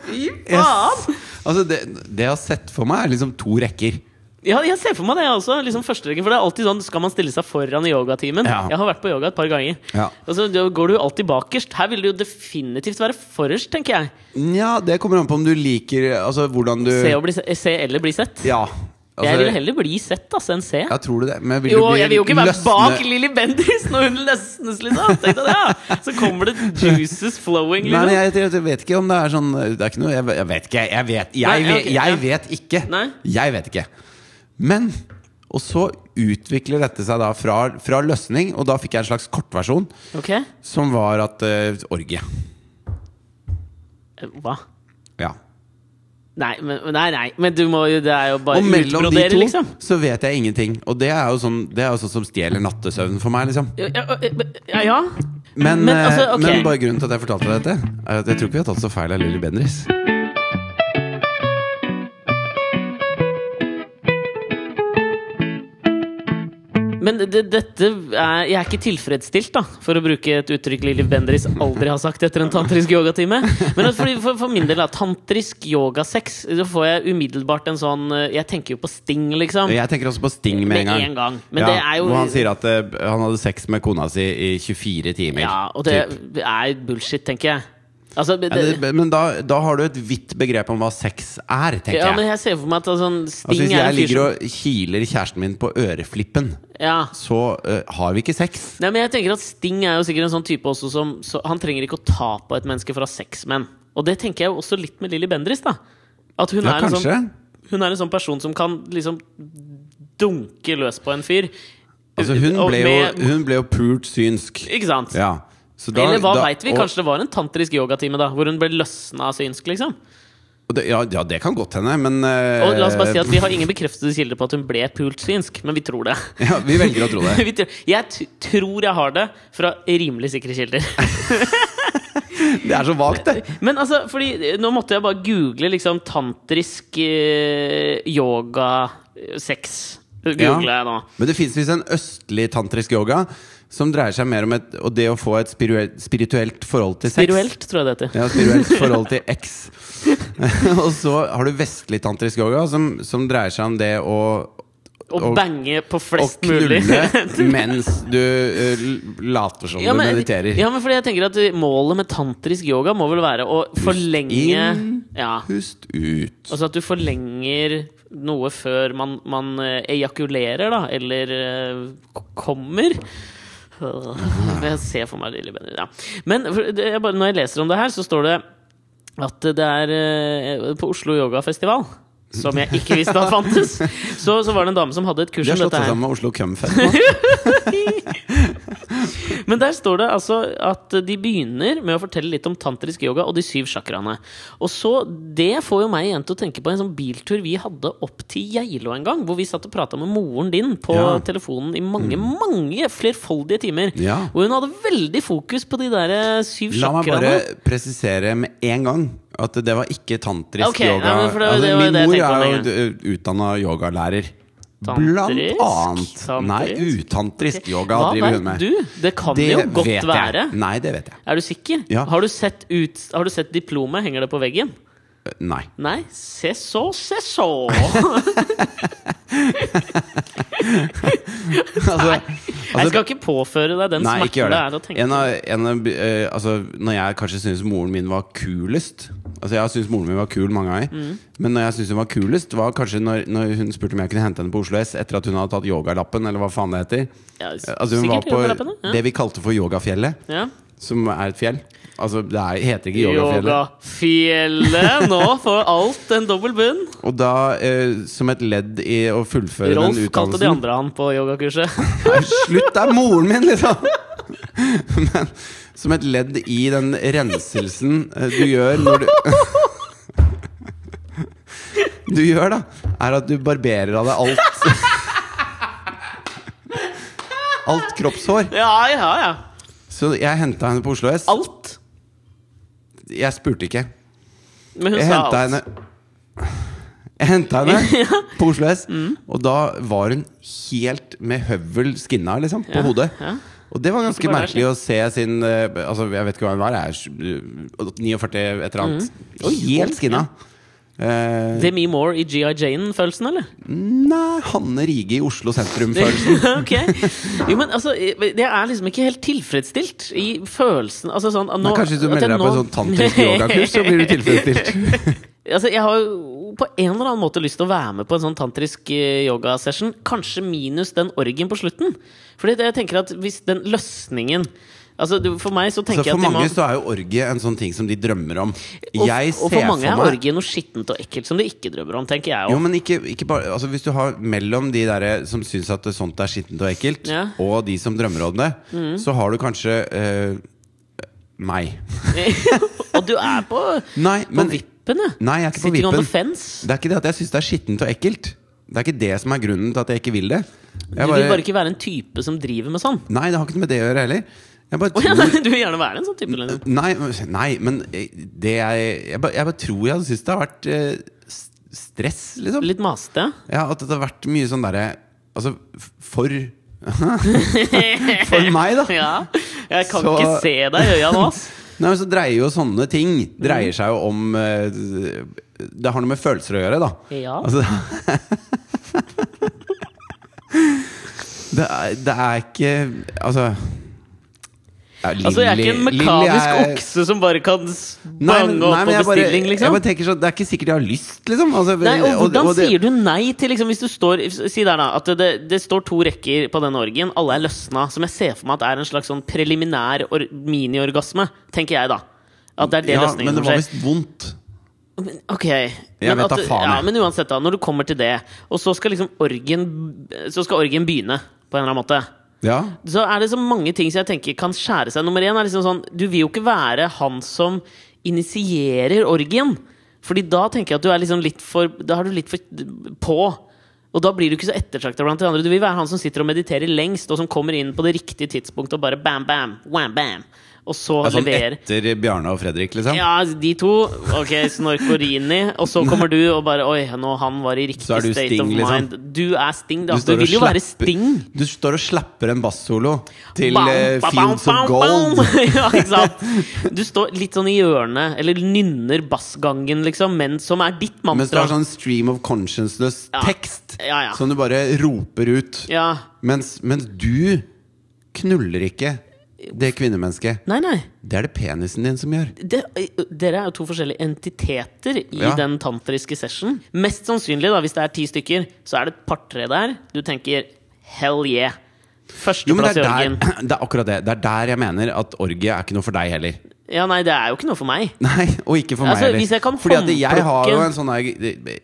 Fy
Yes.
faen!
Altså, det, det jeg har sett for meg, er liksom to rekker.
Ja, jeg ser for meg det også. Liksom første rekke, for det er alltid sånn, Skal man stille seg foran i yogatimen?
Ja.
Jeg har vært på yoga et par ganger.
Ja.
Og så da går du alltid bakerst. Her vil du jo definitivt være forrest, tenker jeg.
Nja, det kommer an på om du liker Altså hvordan du
Se, og bli, se- se eller bli sett.
Ja. Altså,
jeg vil heller bli sett altså, enn se.
Ja, tror du det? Men vil
Jo,
du bli
jeg vil jo ikke være
løsne-
bak Lilly Bendriss når hun løsnes, liksom! Tenk deg det, ja. Så kommer det juices flowing,
Nei, men
liksom.
jeg, jeg vet ikke om det er sånn Det er ikke noe Jeg, jeg vet ikke. Jeg vet, jeg,
Nei,
vet-
ok, ja.
jeg vet ikke.
Nei.
Jeg vet ikke. Men Og så utvikler dette seg da fra, fra løsning, og da fikk jeg en slags kortversjon
Ok,
som var at eh, Orgie.
Hva?
Ja.
Nei, men, nei, nei, men du må jo Det er jo bare
Og mellom de
utbrodere,
to
liksom.
så vet jeg ingenting. Og det er jo sånn, det er jo sånn som stjeler nattesøvnen for meg, liksom.
Ja, ja, ja, ja.
Men,
Men, altså,
eh,
ok.
men bare grunnen til at jeg fortalte deg dette, er at jeg tror ikke vi har tatt så feil av Lilly Bendriss.
Men det, dette er, Jeg er ikke tilfredsstilt, da for å bruke et uttrykk Lilly Bendriss aldri har sagt etter en tantrisk yogatime. Men at fordi- for, for min del, da. Tantrisk yogasex. Så får jeg umiddelbart en sånn eh, Jeg tenker jo på sting, liksom.
Jeg tenker også på Sting med en gang.
en gang. Men det er jo
Hvor han sier at eh, han hadde sex med kona si i 24 timer.
Ja, og det
typ.
er bullshit, tenker jeg. Altså, det,
Ja, det, men da, da har du et vidt begrep om hva sex er, tenker
ja, men
jeg.
jeg ser for meg at sånn Sting
Altså, hvis
er
jeg
en
ligger
fyr som
og kiler kjæresten min på øreflippen,
ja.
så eh, har vi ikke sex.
Nei, men jeg tenker at Sting er jo sikkert en sånn type også som så, Han trenger ikke å ta på et menneske for å ha sex med en. Og det tenker jeg jo også litt med Lilly Bendriss, da. At hun,
Ja,
er en
kanskje.
sånn, hun er en sånn person som kan liksom dunke løs på en fyr.
Altså, hun
Og
ble,
med-
jo, hun ble jo pult synsk.
Ikke sant?
Ja. Så da-
Eller hva
da-
veit vi?
og-
Kanskje det var en tantrisk yogatime da, hvor hun ble løsna synsk, liksom?
og det, ja, ja, det kan godt hende, men eh,
Og la oss bare si at vi har ingen bekreftede kilder på at hun ble pult synsk, men vi tror det.
ja, Vi velger å tro det.
Vi tror- Jeg t tror jeg har det fra rimelig sikre kilder.
Det er så vagt, det.
Men altså, fordi nå måtte jeg bare google liksom tantrisk eh, yoga eh, sex. Googler jeg nå.
Men det fins visst en østlig tantrisk yoga som dreier seg mer om et, og det å få et spirue- spirituelt forhold til sex.
Spiruelt, tror jeg det heter.
Ja, spirituelt forhold til X. og så har du vestlig tantrisk yoga, som, som dreier seg om det å
Å
og-
bange på
å
flest
knulle
mulig.
mens du eh, l- later som
Ja,
du
men,
mediterer.
ja, men fordi jeg tenker at målet med tantrisk yoga må vel være å forlenge
inn.
ja,
Pust ut.
Altså at du forlenger noe før man, man eh, ejakulerer, da, eller eh, k- kommer. Øh, Jeg ser for meg lille Benny. Ja. Men for- det er bare, når jeg leser om det her, så står det at det er eh, på Oslo Yogafestival. Som jeg ikke visste at fantes! Så, så var det en dame som hadde et kurs
De har
om
slått
dette
seg
her.
sammen med Oslo Cumfest nå.
Men der står det altså at de begynner med å fortelle litt om tantrisk yoga og de syv chakraene. Og så, Det får jo meg igjen til å tenke på en sånn biltur vi hadde opp til Geilo en gang. Hvor vi satt og prata med moren din på
Ja. Mm.
telefonen i mange, mange flerfoldige timer.
Ja.
Og hun hadde veldig fokus på de der eh, syv
La meg
chakraene.
bare presisere med en gang at det var ikke tantrisk
Ok, nei,
yoga.
men for det-
altså,
det var
min
det jeg
mor
tenkte på med en
er jo utdanna yogalærer.
Tantrisk?
Blant annet. Nei,
Tantrisk?
utantrisk yoga
Hva
driver hun
vet
med.
du? Det kan det jo godt
vet
være.
Jeg. Nei, det vet jeg.
Er du sikker?
Ja.
Har, du sett ut, har du sett diplomet? Henger det på veggen?
Nei.
Nei, se så, se så!
Altså,
Jeg skal ikke påføre deg den
Nei, ikke
smerten
gjør
det
det.
er å tenke
En av, en av, eh, altså, når jeg kanskje syntes moren min var kulest Altså Jeg har syntes moren min var kul mange ganger,
Mm.
men når jeg syntes hun var kulest, var kanskje når, når hun spurte om jeg kunne hente henne på Oslo S etter at hun hadde tatt yogalappen, eller hva faen det heter.
Ja, s-
altså Hun var
sikkert
på
yogalappen, ja.
det vi kalte for Yogafjellet,
Ja.
som er et fjell. Altså Det er, heter ikke Yogafjellet.
Yogafjellet! Nå får alt en dobbel bunn.
Og da, eh, som et ledd i å fullføre
Rolf
den
kalte de
utdannelsen
andre han på yogakurset.
Nei, Slutt, det er moren min, liksom! Men som et ledd i den renselsen eh, du gjør når du Du gjør, da, er at du barberer av deg alt Alt kroppshår.
Ja, ja, ja.
Så jeg henta henne på Oslo S.
Alt.
Jeg spurte ikke.
Men hun
Jeg
sa
henta
alt.
henne Jeg henta henne på Oslo S,
Mm.
og da var hun helt med høvel skinna, liksom, på
Ja,
hodet.
ja.
Og det var
Ikke
ganske
bare
merkelig å se sin eh, Altså, jeg vet ikke hva hun var, jeg er sj- 49 et eller annet.
Mm.
Helt skinna. Eh,
Demi Moore i G.I. Jane-følelsen, eller?
nei, Hanne Rige i Oslo sentrum-følelsen.
ok. Jo, men altså, det er liksom ikke helt tilfredsstilt i følelsen. Altså sånn at nå,
Men Kanskje hvis du
at jeg
melder deg på en
nå-
sånn tantrisk yogakurs, så blir du tilfredsstilt.
Altså, jeg har jo på en eller annen måte lyst til å være med på en sånn tantrisk eh, yogasession. Kanskje minus den orgien på slutten. Fordi det, jeg tenker at hvis den løsningen Altså, du, for meg så
Så
tenker jeg
for
at de må-
mange så er jo orgie en sånn ting som de drømmer om.
og,
Jeg
og
ser
for mange er
meg
orgien noe skittent og ekkelt som de ikke drømmer om, tenker jeg
Jo,
òg.
men ikke, ikke bare altså Hvis du har mellom de der eh, som syns at det- sånt er skittent og ekkelt,
Ja. Mm.
og de som drømmer om det, så har du kanskje eh, meg.
og du er på,
Nei,
på
men
vippen, ja.
Nei, jeg er ikke på
Sitting on the
vippen.
fence.
Det er ikke det at jeg syns det er skittent og ekkelt. Det er ikke det som er grunnen til at jeg ikke vil det.
Du
Jeg
vil bare ikke være en type som driver med sånn.
Nei, det har ikke noe med det å gjøre heller. Jeg bare
Å ja,
tror
nei, du vil gjerne være en sånn type? Lennon.
Nei, men- nei men eh, det jeg Jeg bare, jeg bare tror jeg syns det har vært eh, s- stress, liksom.
Litt masete?
Ja, at det har vært mye sånn derre Altså, f- for For meg, da.
Ja. Jeg kan
Så-
ikke se deg i øya nå, ass.
Nei, men så dreier jo sånne ting Dreier seg jo om eh, Det har noe med følelser å gjøre, da.
Ja.
Altså, det, er, det er ikke Altså ja,
Altså, jeg er ikke en
Lilly- Lilly
mekanisk
er-
okse som bare kan
Nei, men, nei, men
bange opp på
jeg, bare,
bestilling,
jeg
liksom.
bare tenker sånn Det er ikke sikkert jeg har lyst, liksom. Altså,
Nei, og
og-
hvordan
og det-
sier du nei til liksom, Hvis du står Si der, da. At det, det står to rekker på den orgien. Alle er løsna. Som jeg ser for meg at er en slags sånn preliminær or miniorgasme. Tenker jeg, da. At det er det
ja,
løsningen
Men det
som
var
skjer.
visst vondt.
Men, ok. Men,
vet da
at-
faen,
ja,
jeg.
men uansett, da. Når du kommer til det, og så skal liksom orgien Så skal orgien begynne, på en eller annen måte.
Ja.
så er det så mange ting som jeg tenker kan skjære seg. Nummer én er liksom sånn Du vil jo ikke være han som initierer orgien. Fordi da tenker jeg at du er liksom litt for Da er du litt for på. Og da blir du ikke så ettertrakta blant de andre. Du vil være han som sitter og mediterer lengst, og som kommer inn på det riktige tidspunktet og bare bam, bam, wham, bam. Og så
Altså,
leverer.
etter Bjarne og Fredrik, liksom?
Ja, de to. Ok, Snorkorini. Og så kommer du og bare Oi, nå han var i riktig
Så er du
state of
Sting, liksom.
mind. Du er Sting, da. Du,
står og
vil jo være
slapper-
Sting.
Du står og slapper en bassolo til
Bam,
eh,
ba, bam,
Fields of
bam,
Gold.
bam. ja, ikke sant? Du står litt sånn i hjørnet, eller nynner bassgangen, liksom, men som er ditt
Mens du
mantra.
har sånn stream of consciousness
Ja.
tekst
Ja, ja.
som du bare roper ut.
Ja.
Mens, mens du knuller ikke det kvinnemennesket.
Nei, nei.
Det er det penisen din som gjør.
Det, dere er jo to forskjellige entiteter i
Ja.
den tantriske session. Mest sannsynlig, da, hvis det er ti stykker, så er det et par-tre der. Du tenker 'hell yeah'.
Jo, men
Førsteplass
det
i
er,
orgien.
der, det er akkurat det. Det er der jeg mener at orgie er ikke noe for deg heller.
Ja, nei, det er jo ikke noe for meg.
Nei, og ikke for
Altså,
meg heller.
hvis jeg kan
Fordi at jeg har
håndplukke-
jo en sånn der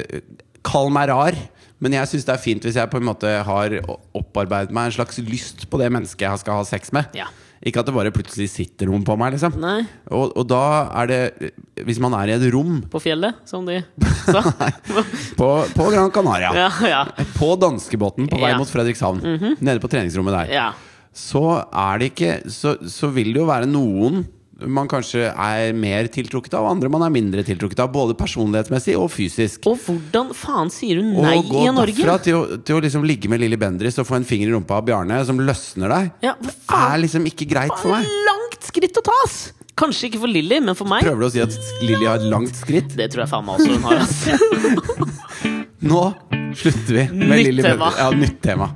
eh, Kall meg rar, men jeg syns det er fint hvis jeg på en måte har opparbeidet meg en slags lyst på det mennesket jeg skal ha sex med.
Ja.
Ikke at det bare plutselig sitter noen på meg, liksom.
Nei.
Og, og da er det Hvis man er i et rom
På fjellet, som de sa.
på, på Gran Canaria,
ja, ja.
på danskebåten på vei
Ja. Mhm.
mot Fredrikshavn, nede på treningsrommet der,
ja.
så er det ikke så, så vil det jo være noen man kanskje er mer tiltrukket av, og andre man er mindre tiltrukket av. Både personlighetsmessig og fysisk.
Og hvordan faen sier du
Og
nei
gå
i en orgie?
derfra til å, til å liksom ligge med Lilly Bendriss og få en finger i rumpa av Bjarne, som løsner deg,
Ja, hva faen?
er liksom ikke greit for meg.
langt skritt å ta, ass! Kanskje ikke for Lilly, men for meg.
Prøver du å si at Lilly har et langt skritt?
Det tror jeg faen meg også hun har. ass
Nå slutter vi med
Nytt
Lilly
tema.
Bendriss. Ja, nytt tema.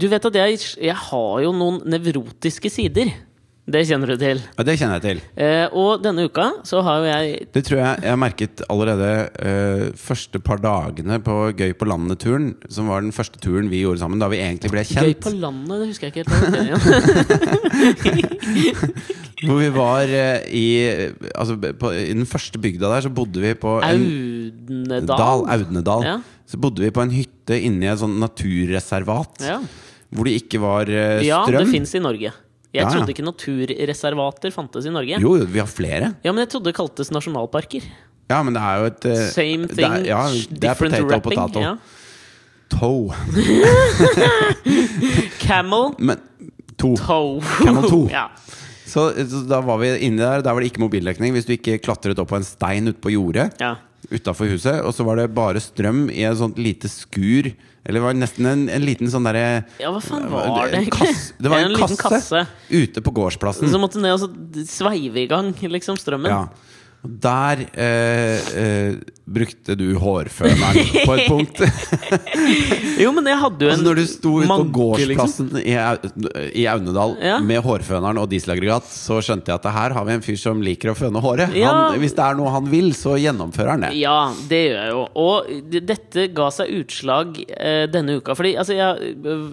Du vet at jeg, jeg har jo noen nevrotiske sider. Det kjenner du til.
Ja, det kjenner jeg til.
Eh, og denne uka så har jo jeg
Det tror jeg jeg har merket allerede eh, første par dagene på Gøy på landet-turen, som var den første turen vi gjorde sammen, da vi egentlig ble
Gøy
kjent.
på landet, det husker jeg ikke helt.
Hvor vi var eh, i eh, Altså på, i den første bygda der, så bodde vi på en
Audnedal.
dal, Audnedal.
Ja.
Så bodde vi på en hytte inni et sånt naturreservat.
Ja.
Hvor det ikke var eh,
Ja, det
strøm.
fins i Norge. Jeg
Ja, ja.
trodde ikke naturreservater fantes i Norge.
jo, jo, vi har flere.
Ja, men jeg trodde det kaltes nasjonalparker.
Ja, men det er jo et eh,
Same
det
thing,
er, ja, det er
different
potato og
wrapping.
potato.
Ja.
Toe.
Camel
Men to.
toe.
Camel toe.
ja.
Så, så da var vi inne der. Der var det ikke mobildekning hvis du ikke klatret opp på en stein ute på jordet.
Ja.
Utafor huset. Og så var det bare strøm i et sånt lite skur. Eller det var nesten en, en liten sånn derre
ja, hva faen var det
en
egentlig?
kasse- Det var en,
liten
kasse, ute på gårdsplassen.
Så måtte du ned og så d- sveive i gang liksom strømmen.
Ja. Og der eh, eh, brukte du hårføneren på et punkt.
Jo, men jeg hadde jo en
altså når du sto ute på
manke, liksom.
gårdsplassen i, Au- i Aunedal
Ja.
med hårføneren og dieselaggregat, så skjønte jeg at det her har vi en fyr som liker å føne håret.
Ja.
Han, hvis det er noe han vil, så gjennomfører han det.
Ja, det gjør jeg jo. Og d- dette ga seg utslag eh, denne uka. Fordi altså, jeg,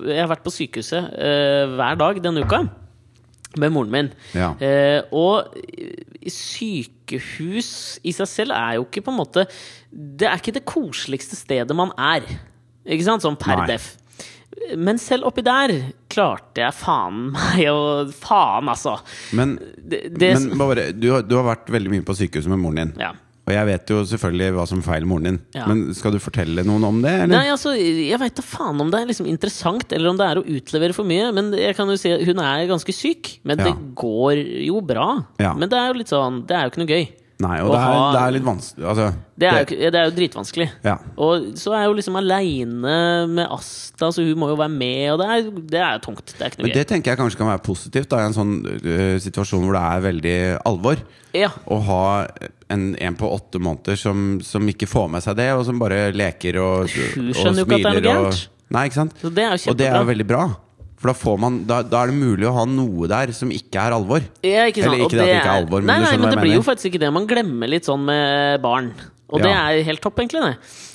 jeg har vært på sykehuset eh, hver dag denne uka med moren min.
Ja.
Eh, og eh, sykehus i seg selv er jo ikke på en måte Det er ikke det koseligste stedet man er. Ikke sant? Sånn per
Nei.
def. Men selv oppi der klarte jeg faen meg å Faen, altså!
Men,
Det, det,
men bare, du, har- du har vært veldig mye på sykehuset med moren din.
Ja.
Og jeg vet jo selvfølgelig hva som feiler moren din.
Ja.
Men skal du fortelle noen om det? Eller?
Nei, altså, jeg veit da faen om det er liksom interessant, eller om det er å utlevere for mye. Men jeg kan jo si at hun er ganske syk. Men
Ja.
det går jo bra.
Ja.
Men det er jo litt sånn Det er jo ikke noe gøy.
Nei, og
Å
det er,
ha-
det er litt vanskelig altså,
Det er jo, ikke- det er jo dritvanskelig.
Ja.
Og så er jeg jo liksom aleine med Asta, så hun må jo være med, og det er, det er jo tungt. Det er ikke
Men
noe
det
gøy.
tenker jeg kanskje kan være positivt da, i en sånn øh, situasjon hvor det er veldig alvor.
Ja.
Å ha en, en på åtte måneder som, som ikke får med seg det, og som bare leker og, og
Hun
smiler.
skjønner jo ikke at det er noe gærent.
Og, nei, ikke sant?
Så det er jo
og det er jo
kjempebra.
veldig bra. For da, får man, da, da er det mulig å ha noe der som ikke er alvor.
Ja, ikke sant?
Eller
Og
ikke det at det ikke er alvor, men
nei,
du
nei,
skjønner
men
hva
det
jeg
blir jo
mener.
faktisk ikke det. Man glemmer litt sånn med barn. Og det
Ja.
er helt topp, egentlig.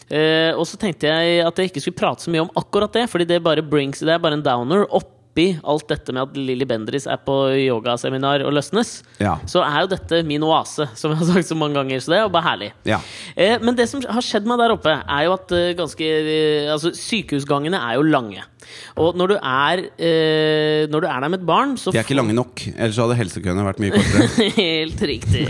Det. Eh, og så tenkte jeg at jeg ikke skulle prate så mye om akkurat det, fordi det bare brings Det er bare en downer oppi alt dette med at Lilly Bendriss er på yogaseminar og løsnes.
Ja.
Så er jo dette min oase, som jeg har sagt så mange ganger. Så det er jo bare herlig.
Ja.
Eh, men det som har skjedd meg der oppe, er jo at eh, ganske eh, Altså, sykehusgangene er jo lange. Og når du er, eh, når du er der med et barn, så
De er ikke lange nok, ellers hadde helsekøene vært mye kortere.
Helt riktig.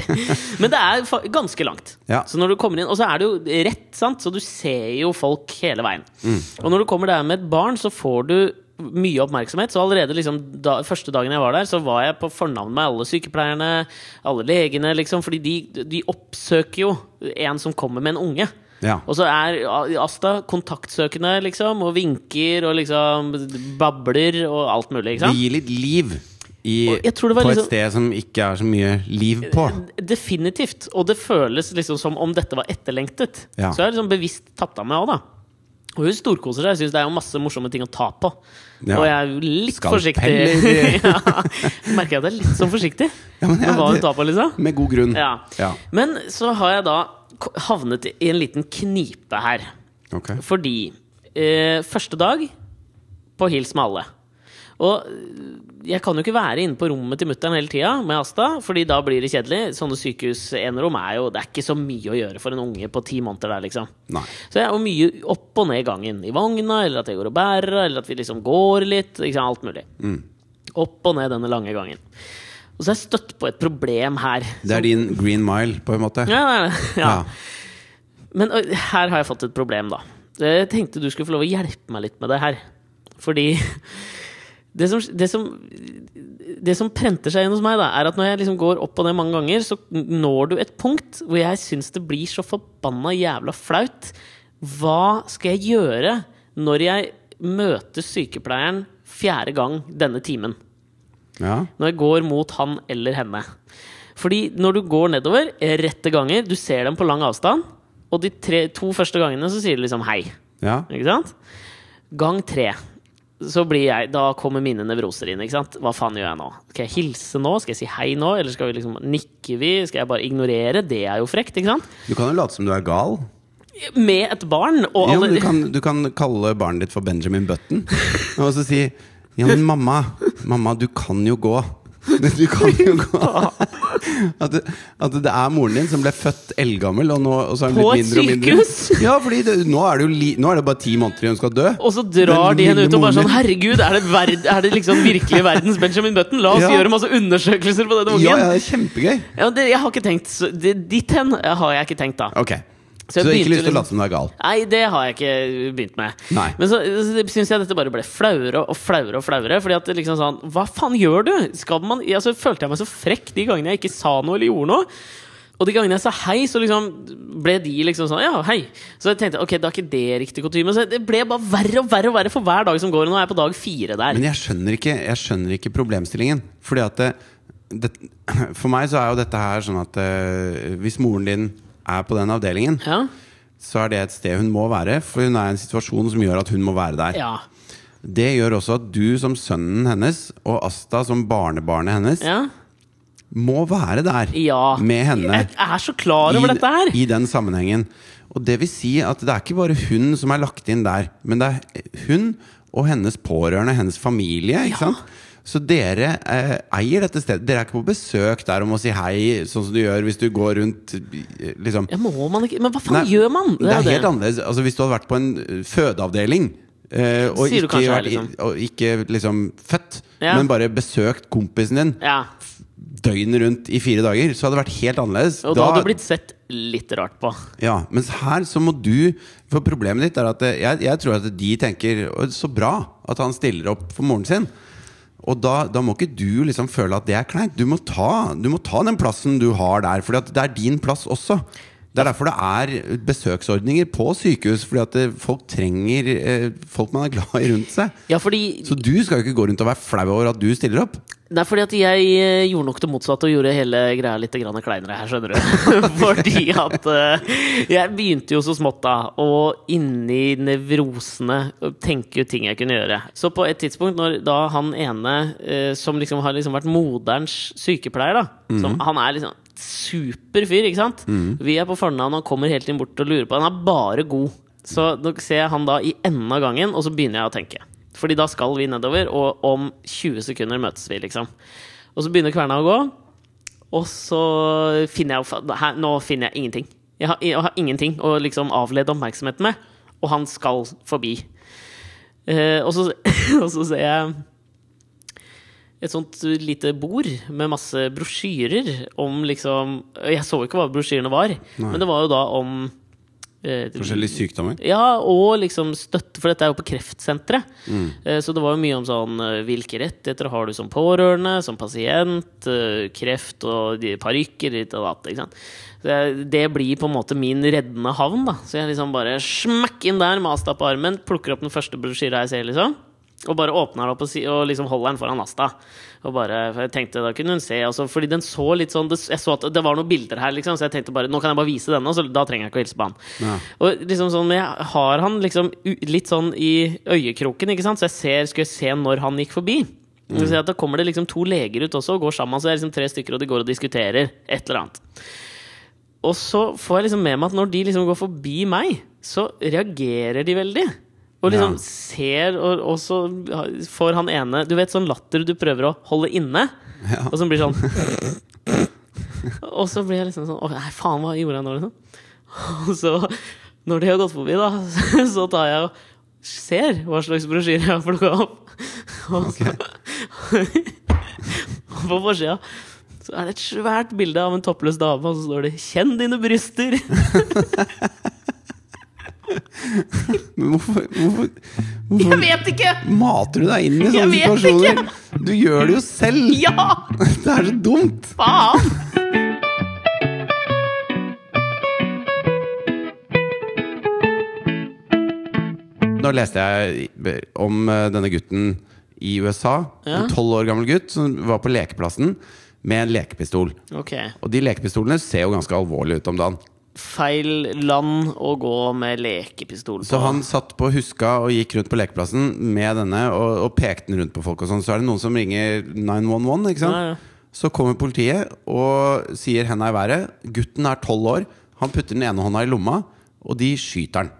Men det er fa- ganske langt.
Ja.
Så når du kommer inn, Og så er det jo rett, sant? så du ser jo folk hele veien. Og når du kommer der med et barn, så får du mye oppmerksomhet. Så allerede liksom da, første dagen jeg var der, så var jeg på fornavn med alle sykepleierne, alle legene, liksom. Fordi de, de oppsøker jo en som kommer med en unge.
Ja.
Og så er A- Asta kontaktsøkende, liksom, og vinker og liksom babler og alt mulig, ikke
Det
sant?
gir litt liv i,
Og jeg tror det var
på
liksom-
et sted som ikke er så mye liv på.
Definitivt. Og det føles liksom som om dette var etterlengtet.
Ja.
Så jeg har liksom bevisst tatt av meg òg, da. Og hun storkoser seg. Jeg syns det er jo masse morsomme ting å ta på.
Ja.
Og jeg er jo litt forsiktig.
Skalpeller.
ja. Merker jeg at jeg er litt sånn forsiktig
Ja, men
med
ja,
hva
det-
hun tar på, liksom.
Med god grunn.
Ja.
Ja.
Men så har jeg da k- havnet i en liten knipe her.
Ok.
Fordi eh, første dag på Hils med alle. Og eh, jeg kan jo ikke være inne på rommet til mutter'n hele tida med Asta, fordi da blir det kjedelig. Sånne sykehusenerom er jo Det er ikke så mye å gjøre for en unge på ti måneder der, liksom.
Nei.
Så jeg er jo mye opp og ned i gangen. I vogna, eller at jeg går og bærer, eller at vi liksom går litt. Ikke sant? Alt mulig. Opp og ned denne lange gangen. Og så har jeg støtt på et problem her.
Det er din green mile, på en måte.
Ja, ja, ja. Men ø, her har jeg fått et problem, da. Jeg tenkte du skulle få lov å hjelpe meg litt med det her. Fordi det som, det som, det som prenter seg inn hos meg, da, er at når jeg liksom går opp og ned mange ganger, så når du et punkt hvor jeg syns det blir så forbanna jævla flaut. Hva skal jeg gjøre når jeg møter sykepleieren fjerde gang denne timen?
Ja.
når jeg går mot han eller henne. Fordi når du går nedover, eh, rette ganger, du ser dem på lang avstand, og de tre, to første gangene så sier du liksom hei.
Ja.
Ikke sant? Gang tre. Så blir jeg, Da kommer mine nevroser inn. ikke sant? Hva faen gjør jeg nå? Skal jeg hilse nå? Skal jeg si hei nå? Eller skal vi liksom nikke vi? Skal jeg bare ignorere? Det er jo frekt, ikke sant?
Du kan jo late som du er gal.
Med et barn og
Jo, men
alle
du, kan, du kan kalle barnet ditt for Benjamin Button og så si Ja, men mamma, mamma, du kan jo gå. Men Du kan jo gå at det, at det er moren din som ble født eldgammel, og, nå, og så er hun
På
blitt
et
mindre og mindre.
sykehus?
Ja, fordi det, nå, er det jo li, nå er det bare ti måneder til hun skal dø.
Og så drar
Den
de henne
lille
ut og bare
moren
sånn Herregud, er det, verd, er det liksom virkelig verdens Benjamin Button? La oss
Ja.
gjøre masse undersøkelser på denne ungen.
Ja,
Ja,
ja, det er kjempegøy.
men det, jeg har ikke tenkt så- det- Ditt hen eh, har jeg ikke tenkt, da.
Ok.
Så
Så
jeg
du har
begynte
ikke lyst til
liksom-
å late som du er gal?
Nei, det har jeg ikke begynt med.
Nei.
Men så, så syns jeg dette bare ble flauere og flauere og flauere. Fordi at det liksom sånn Hva faen gjør du?! Skal man Altså følte jeg meg så frekk de gangene jeg ikke sa noe eller gjorde noe. Og de gangene jeg sa hei, så liksom ble de liksom sånn Ja, hei. Så jeg tenkte ok, da er ikke det riktig kutyme. Så det ble bare verre og verre og verre for hver dag som går. Og nå er jeg på dag fire der.
Men jeg skjønner ikke, jeg skjønner ikke problemstillingen. Fordi at det, det, For meg så er jo dette her sånn at eh, hvis moren din er på den avdelingen,
Ja.
så er det et sted hun må være. For hun er i en situasjon som gjør at hun må være der.
ja.
Det gjør også at du som sønnen hennes, og Asta som barnebarnet hennes,
Ja.
må være der
Ja.
med henne.
Jeg er så klar
i,
over dette her!
I den sammenhengen. Og det vil si at det er ikke bare hun som er lagt inn der, men det er hun og hennes pårørende, hennes familie. ikke sant? Så dere eh, eier dette stedet. Dere er ikke på besøk der om å si hei, sånn som du gjør hvis du går rundt eh, liksom.
Ja, må man ikke Men hva faen
Nei,
gjør man?
Det er
jo
helt annerledes. Altså, hvis du hadde vært på en eh, fødeavdeling eh, og,
Sier du
ikke
kanskje her,
vært, i-
liksom.
og ikke liksom født,
Ja.
men bare besøkt kompisen din
Ja.
døgnet rundt i fire dager, så hadde det vært helt annerledes.
Og da, hadde du blitt sett litt rart på.
Ja, mens her så må du For problemet ditt er at eh, jeg, jeg tror at de tenker «Å, Så bra at han stiller opp for moren sin Og da, da må ikke du liksom føle at det er kleint du må, ta, du må ta den plassen du har der Fordi at det er din plass også det er derfor det er besøksordninger på sykehus Fordi at eh, folk trenger eh, folk man er glad i rundt seg
Ja, fordi
Så du skal jo ikke gå rundt og være flau over at du stiller opp
Det er fordi at jeg eh, gjorde nok det motsatte og gjorde hele greia litt grann kleinere her, skjønner du. fordi at eh, jeg begynte jo så smått da, og inni nevrosene tenke ut ting jeg kunne gjøre. Så på et tidspunkt, når da han ene eh, som liksom har liksom vært moderens sykepleier, da som, Han er liksom super fyr, ikke sant? Vi er på fornavn, han kommer helt inn bort og lurer på Han er bare god. Så da ser jeg han da i enden av gangen, og så begynner jeg å tenke. Fordi da skal vi nedover, og om 20 sekunder møtes vi, liksom. Og så begynner kverna å gå, og så finner jeg jo fa- her, Nå finner jeg ingenting. Jeg har, jeg har ingenting å liksom avlede oppmerksomheten med, og han skal forbi. Eh, og, så, og så ser jeg et sånt lite bord med masse brosjyrer om liksom Jeg så ikke hva brosjyrene var, men det var jo da om eh,
Forskjellige sykdommer
ja, og liksom støtte, for dette er jo på kreftsenteret. Eh, Så det var jo mye om sånn eh, hvilke rettigheter har du som pårørende, som pasient, eh, kreft og de parykker ditt og datt. Ikke sant? Så jeg- Det blir på en måte min reddende havn, da. Så jeg liksom bare smakk inn der med Asta på armen, plukker opp den første brosjyra jeg ser, liksom. Og bare åpner den opp og, si, og liksom holder den foran Asta. Og bare, for jeg tenkte da kunne hun se også, Fordi den så litt sånn det, Jeg så at det var noen bilder her, liksom, så jeg tenkte bare nå kan jeg bare vise denne, og så da trenger jeg ikke å hilse på han.
Ja.
Og liksom sånn, jeg har han liksom u- litt sånn i øyekroken, ikke sant? så jeg ser, skulle jeg se når han gikk forbi. Så ser jeg at Da kommer det liksom to leger ut også og går sammen. Så det er liksom tre stykker, og de går og diskuterer et eller annet. Og så får jeg liksom med meg at når de liksom går forbi meg, så reagerer de veldig. Og liksom
Ja.
ser, og, og så får han ene Du vet sånn latter du prøver å holde inne, og som blir sånn Og så blir jeg liksom sånn Å, nei, faen, hva gjorde jeg nå, liksom? Og så, når de har gått forbi, da, så tar jeg og ser hva slags brosjyre jeg har plukka opp. Og så Og på forsida så er det et svært bilde av en toppløs dame, og så står det 'Kjenn dine bryster'.
Men hvorfor, hvorfor, hvorfor
Jeg vet ikke!
Mater du deg inn i
Jeg
sånne
vet
situasjoner? Du gjør det jo selv!
Ja!
Det er så dumt!
Faen!
Nå leste jeg om eh, denne gutten i USA.
Ja.
En tolv år gammel gutt som var på lekeplassen med en lekepistol.
Ok.
Og de lekepistolene ser jo ganske alvorlige ut om dagen.
Feil land å gå med lekepistol på.
Så han satt på huska og gikk rundt på lekeplassen med denne og, og pekte den rundt på folk. og sånn Så er det noen som ringer 911. ikke sant?
Ja, ja.
Så kommer politiet og sier henda i været. Gutten er tolv år. Han putter den ene hånda i lomma, og de skyter han.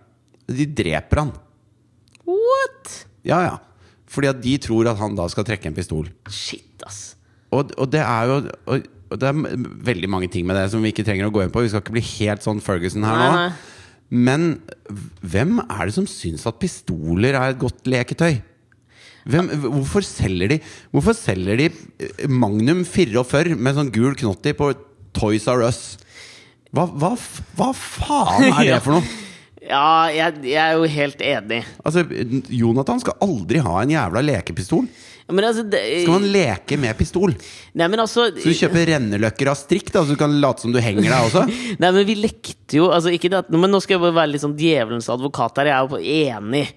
De dreper han.
What?
Ja, ja. Fordi at de tror at han da skal trekke en pistol.
Shit, ass.
Og, og det er jo og, og det er m- veldig mange ting med det som vi ikke trenger å gå inn på. Vi skal ikke bli helt sånn Ferguson her
Nei,
nå.
nei.
Men hvem er det som syns at pistoler er et godt leketøy? Hvem, hvorfor, selger de, hvorfor selger de eh, Magnum 44 med sånn gul knott i på Toys R Us? Hva, hva, f- hva faen er
Ja.
det for noe?
Ja, jeg, jeg er jo helt enig.
Altså, Jonathan skal aldri ha en jævla lekepistol.
Ja, Men altså det,
Skal man leke med pistol?
Nei, men altså
Så du kjøper renneløkker av strikk, da, så du kan late som du henger deg også?
Nei, men vi lekte jo altså, ikke det, at- Men nå skal jeg bare være litt sånn djevelens advokat her. Jeg er jo på- enig.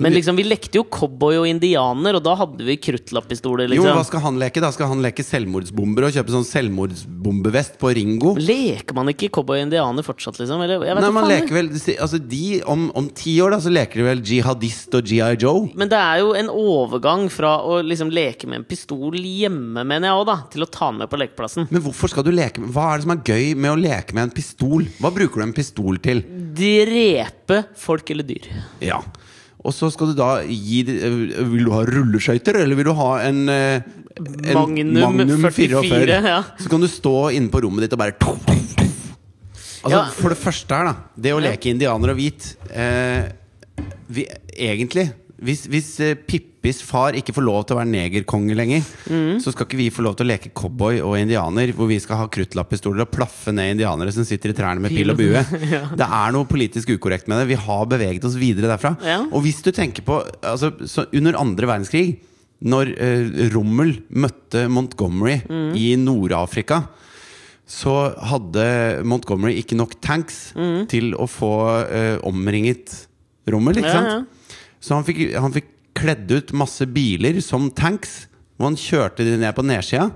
Men liksom, vi lekte jo cowboy og indianer, og da hadde vi kruttlapppistoler.
Jo, men Hva
Liksom.
skal han leke? da? Skal han leke selvmordsbomber og kjøpe sånn selvmordsbombevest på Ringo?
Leker man ikke cowboy og indianer fortsatt, liksom? Eller, jeg vet
Nei,
ikke
man
faen, jeg.
leker vel Altså, de om, om ti år, da, så leker de vel jihadist og GI Joe.
Men det er jo en overgang fra å liksom leke med en pistol hjemme, mener jeg òg, da, til å ta med på lekeplassen.
Men hvorfor skal du leke med Hva er det som er gøy med å leke med en pistol? Hva bruker du en pistol til?
Drepe folk eller dyr.
Ja og så skal du da gi de- øh, Vil du ha rulleskøyter, eller vil du ha en, øh, en
Magnum 44, ja.
Så kan du stå inne på rommet ditt og bare Altså,
Ja.
For det første her, da. Det å
Ja.
leke indianer og hvit eh, vi, Egentlig hvis, hvis eh, Pippis far ikke får lov til å være negerkonge lenger,
Mm.
så skal ikke vi få lov til å leke cowboy og indianer, hvor vi skal ha kruttlapppistoler og plaffe ned indianere som sitter i trærne med pil og bue. Det er noe politisk ukorrekt med det. Vi har beveget oss videre derfra.
Ja.
Og hvis du tenker på altså, så Under andre verdenskrig, når eh, Rommel møtte Montgomery i Nord-Afrika så hadde Montgomery ikke nok tanks
Mm.
til å få eh, omringet Rommel. Ikke
Ja,
sant?
ja.
Så han fikk, han fikk kledd ut masse biler som tanks, og han kjørte de ned på nedsida.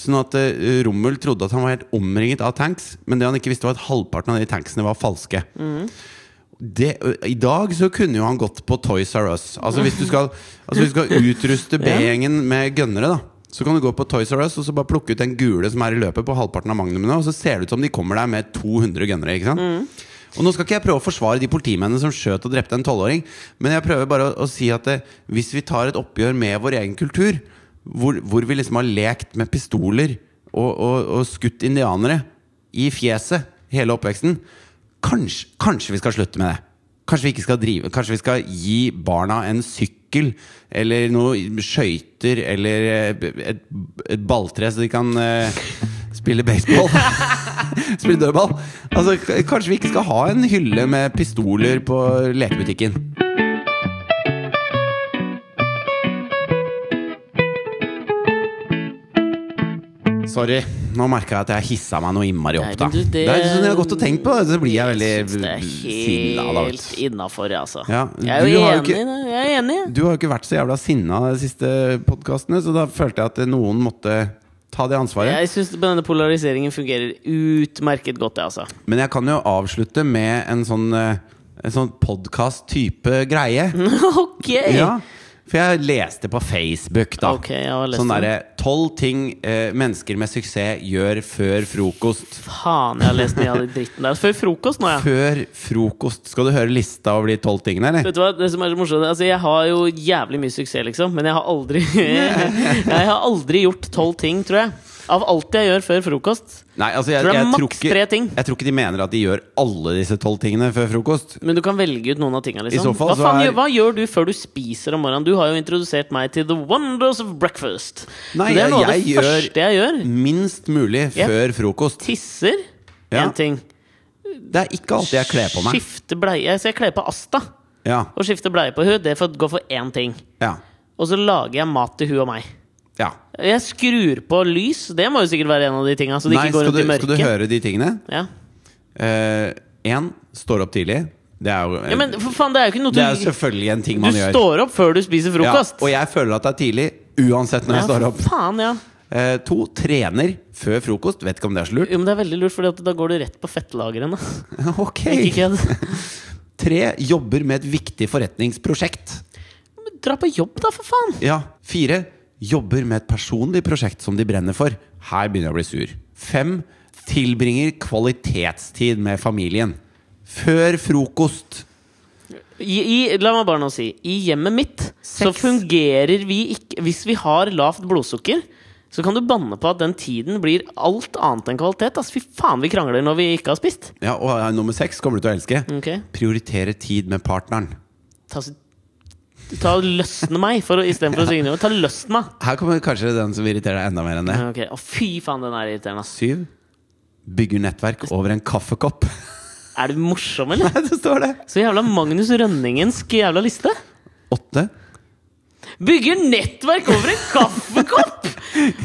Sånn at eh, Rommel trodde at han var helt omringet av tanks, men det han ikke visste, var at halvparten av de tanksene var falske. Det, I dag så kunne jo han gått på Toys R Us. Altså Hvis du skal, altså hvis du skal utruste B-gjengen med gønnere, da så kan du gå på Toys R Us og så bare plukke ut den gule som er i løpet på halvparten av magnumene, og så ser det ut som de kommer der med 200 gønnere. Ikke sant? Og nå skal ikke jeg prøve å forsvare de politimennene som skjøt og drepte en tolvåring, men jeg prøver bare å, å si at eh, hvis vi tar et oppgjør med vår egen kultur, hvor, hvor vi liksom har lekt med pistoler og, og, og skutt indianere i fjeset hele oppveksten, kanskje, kanskje vi skal slutte med det. Kanskje vi ikke skal drive Kanskje vi skal gi barna en sykkel eller noen skøyter eller eh, et, et balltre så de kan eh, spille baseball. spille dødball. Altså, k- kanskje vi ikke skal ha en hylle med pistoler på lekebutikken. Sorry, nå merka jeg at jeg hissa meg noe innmari opp.
Nei,
da
men du, det-
Det er sånn jeg har gått og tenkt på, så blir jeg veldig
Jeg synes det
sinna. da,
er
vet
helt
du.
innafor, altså.
Ja,
jeg er
du
jo
har jo
enig. Jeg er enig.
Du har jo ikke vært så jævla sinna de siste podkastene, så da følte jeg at noen måtte ta det ansvaret.
Jeg syns denne polariseringen fungerer utmerket godt, jeg, altså.
Men jeg kan jo avslutte med en sånn, eh, en sånn podkast-type greie.
ok!
Ja, for jeg leste på Facebook, da.
Ok, jeg har lest
sånn
det.
derre tolv ting eh, mennesker med suksess gjør før frokost.
Faen, jeg har lest mye av den dritten der. Før frokost nå, ja.
Før frokost. Skal du høre lista over de tolv tingene, eller?
Vet du hva, det som er så morsomt Altså, Jeg har jo jævlig mye suksess, liksom, men jeg har aldri Jeg har aldri gjort tolv ting, tror jeg. Av alt jeg gjør før frokost.
Nei, altså jeg,
Tror det er
jeg, tror
maks tre
ikke,
ting.
jeg tror ikke de mener at de gjør alle disse tolv tingene før frokost.
Men du kan velge ut noen av tinga. Liksom.
I så fall
hva,
så
faen
er-
gjør- hva gjør du før du spiser om morgenen? Du har jo introdusert meg til the wonders of breakfast.
Nei,
Så det er noe av det
jeg gjør-
første jeg gjør.
Minst mulig
Ja.
før frokost.
Tisser.
Ja.
Én ting.
Det er ikke alltid jeg kler på meg.
Skifte bleie. Så jeg kler på Asta.
Ja,
Og skifte bleie på hun, det får gå for én ting.
ja,
Og så lager jeg mat til hun og meg.
ja.
Jeg skrur på lys. Det må jo sikkert være en av de tinga. Så det
Nei,
ikke går
skal,
rundt
du,
i mørket.
skal du høre de tingene?
Ja.
Én står opp tidlig. Det er jo
ja, men for faen, det er jo ikke noe
Det er
du
selvfølgelig en ting
Du
man gjør.
står opp før du spiser frokost.
Ja, og jeg føler at det er tidlig, uansett når jeg
Ja,
står opp.
Faen, ja.
Eh, to, trener før frokost. Vet ikke om det er så lurt.
Jo, men det er veldig lurt, for da går du rett på fettlagrene.
Ok.
Ikke kødd.
Tre, jobber med et viktig forretningsprosjekt.
Men Dra på jobb, da, for faen!
Ja. Fire, jobber med et personlig prosjekt som de brenner for. Her begynner jeg å bli sur. Fem, tilbringer kvalitetstid med familien. Før frokost.
I, i, la meg bare nå si I hjemmet mitt så
Sex.
fungerer vi ikke Hvis vi har lavt blodsukker, så kan du banne på at den tiden blir alt annet enn kvalitet. ass. fy faen, vi krangler når vi ikke har spist.
Ja, og eh, nummer seks kommer du til å elske.
Ok.
Prioritere tid med partneren.
Ta, s- ta og løsne meg, for å- istedenfor å synge noe. Ta løsn meg!
Her kommer kanskje den som irriterer deg enda mer enn det.
Ja, ok. Å, fy faen, den er irriterende, ass.
Syv. Bygger nettverk over en kaffekopp.
Er du morsom, eller?
Nei, det står det!
Så jævla Magnus Rønningensk jævla liste.
Åtte.
Bygger nettverk over en kaffekopp!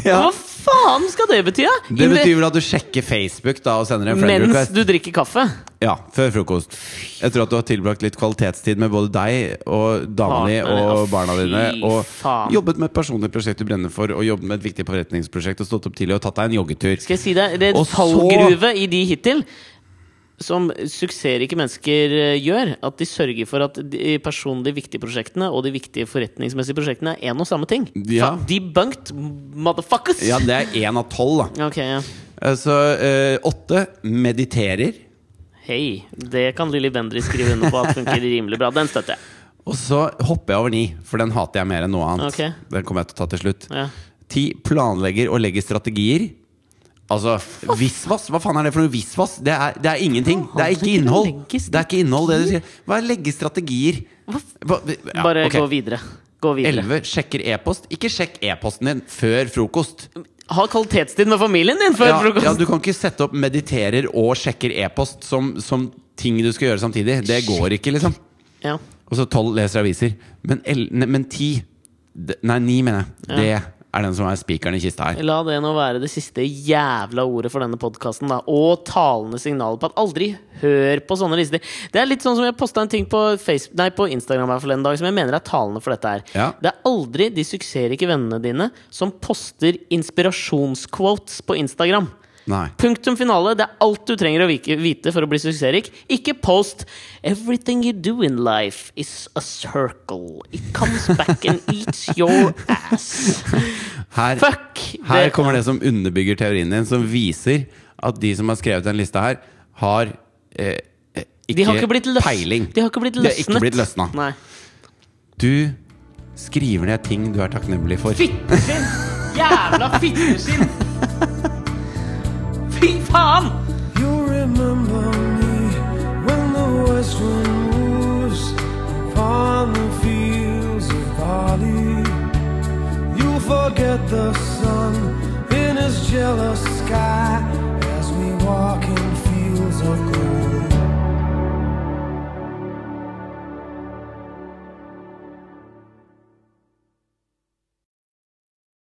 Ja.
Hva faen skal det bety? da?
Det
Inve-
betyr vel at du sjekker Facebook da og sender en friend
Mens
request?
du drikker kaffe?
Ja, før frokost. Jeg tror at du har tilbrakt litt kvalitetstid med både deg og dama di
Partnerne,
og
å,
barna
fy
dine.
faen.
Og jobbet med et personlig prosjekt du brenner for, og jobbet med et viktig forretningsprosjekt og stått opp tidlig og tatt deg en joggetur.
Skal jeg si deg, det er
Og
en
så-
fallgruve i de hittil som suksessrike mennesker eh, gjør. At de sørger for at de personlig viktige prosjektene og de viktige forretningsmessige prosjektene er én og samme ting.
Ja.
Fa- Debunked, motherfuckers!
Ja, det er én av tolv, da.
Ok, ja.
Eh, Så eh, åtte mediterer.
Hei. Det kan Lilly Bendriss skrive under på at funker rimelig bra. Den støtter jeg.
Og så hopper jeg over ni, for den hater jeg mer enn noe annet.
Ok.
Den kommer jeg til å ta til slutt.
Ja.
Ti planlegger og legger strategier. Altså, visvas? Hva faen er det for noe visvas? Det er, det er ingenting. Det er ikke innhold.
Planlegger
Det er ikke innhold, det du sier. Hva er legge strategier? Hva- ja,
Bare
ok.
gå videre. Gå videre.
Elleve sjekker e-post. Ikke sjekk e-posten din før frokost.
Ha kvalitetstid med familien din før
Ja,
frokost!
ja, du kan ikke sette opp mediterer og sjekker e-post som, som ting du skal gjøre samtidig. Det går ikke, liksom.
Ja.
Og så tolv leser aviser. Men, el, ne, men ti d- Nei, ni, mener jeg. Det er den som er spikeren i kista her.
La det nå være det siste jævla ordet for denne podkasten, da. Og talende signaler på at aldri hør på sånne lister. Det er litt sånn som jeg posta en ting på, Facebook, nei, på Instagram her forleden dag som jeg mener er talende for dette her.
Ja.
Det er aldri de suksessrike vennene dine som poster inspirasjonsquotes på Instagram.
Nei.
Punktum finale. Det er alt du trenger å vike- vite for å bli suksessrik. Ikke post 'Everything you do in life is a circle. It comes back and eats your ass'.
Her,
Fuck!
Her kommer det som underbygger teorien din, som viser at de som har skrevet den lista her, har eh, eh, ikke,
de har ikke blitt løs,
peiling.
De har ikke blitt
De har ikke
løsnet.
blitt løsna.
Nei.
Du skriver ned ting du er takknemlig for.
Fitteskinn! Jævla fitteskinn! Fy faen!
You'll remember me when the west wind moves upon the fields of barley. You'll forget the sun in his jealous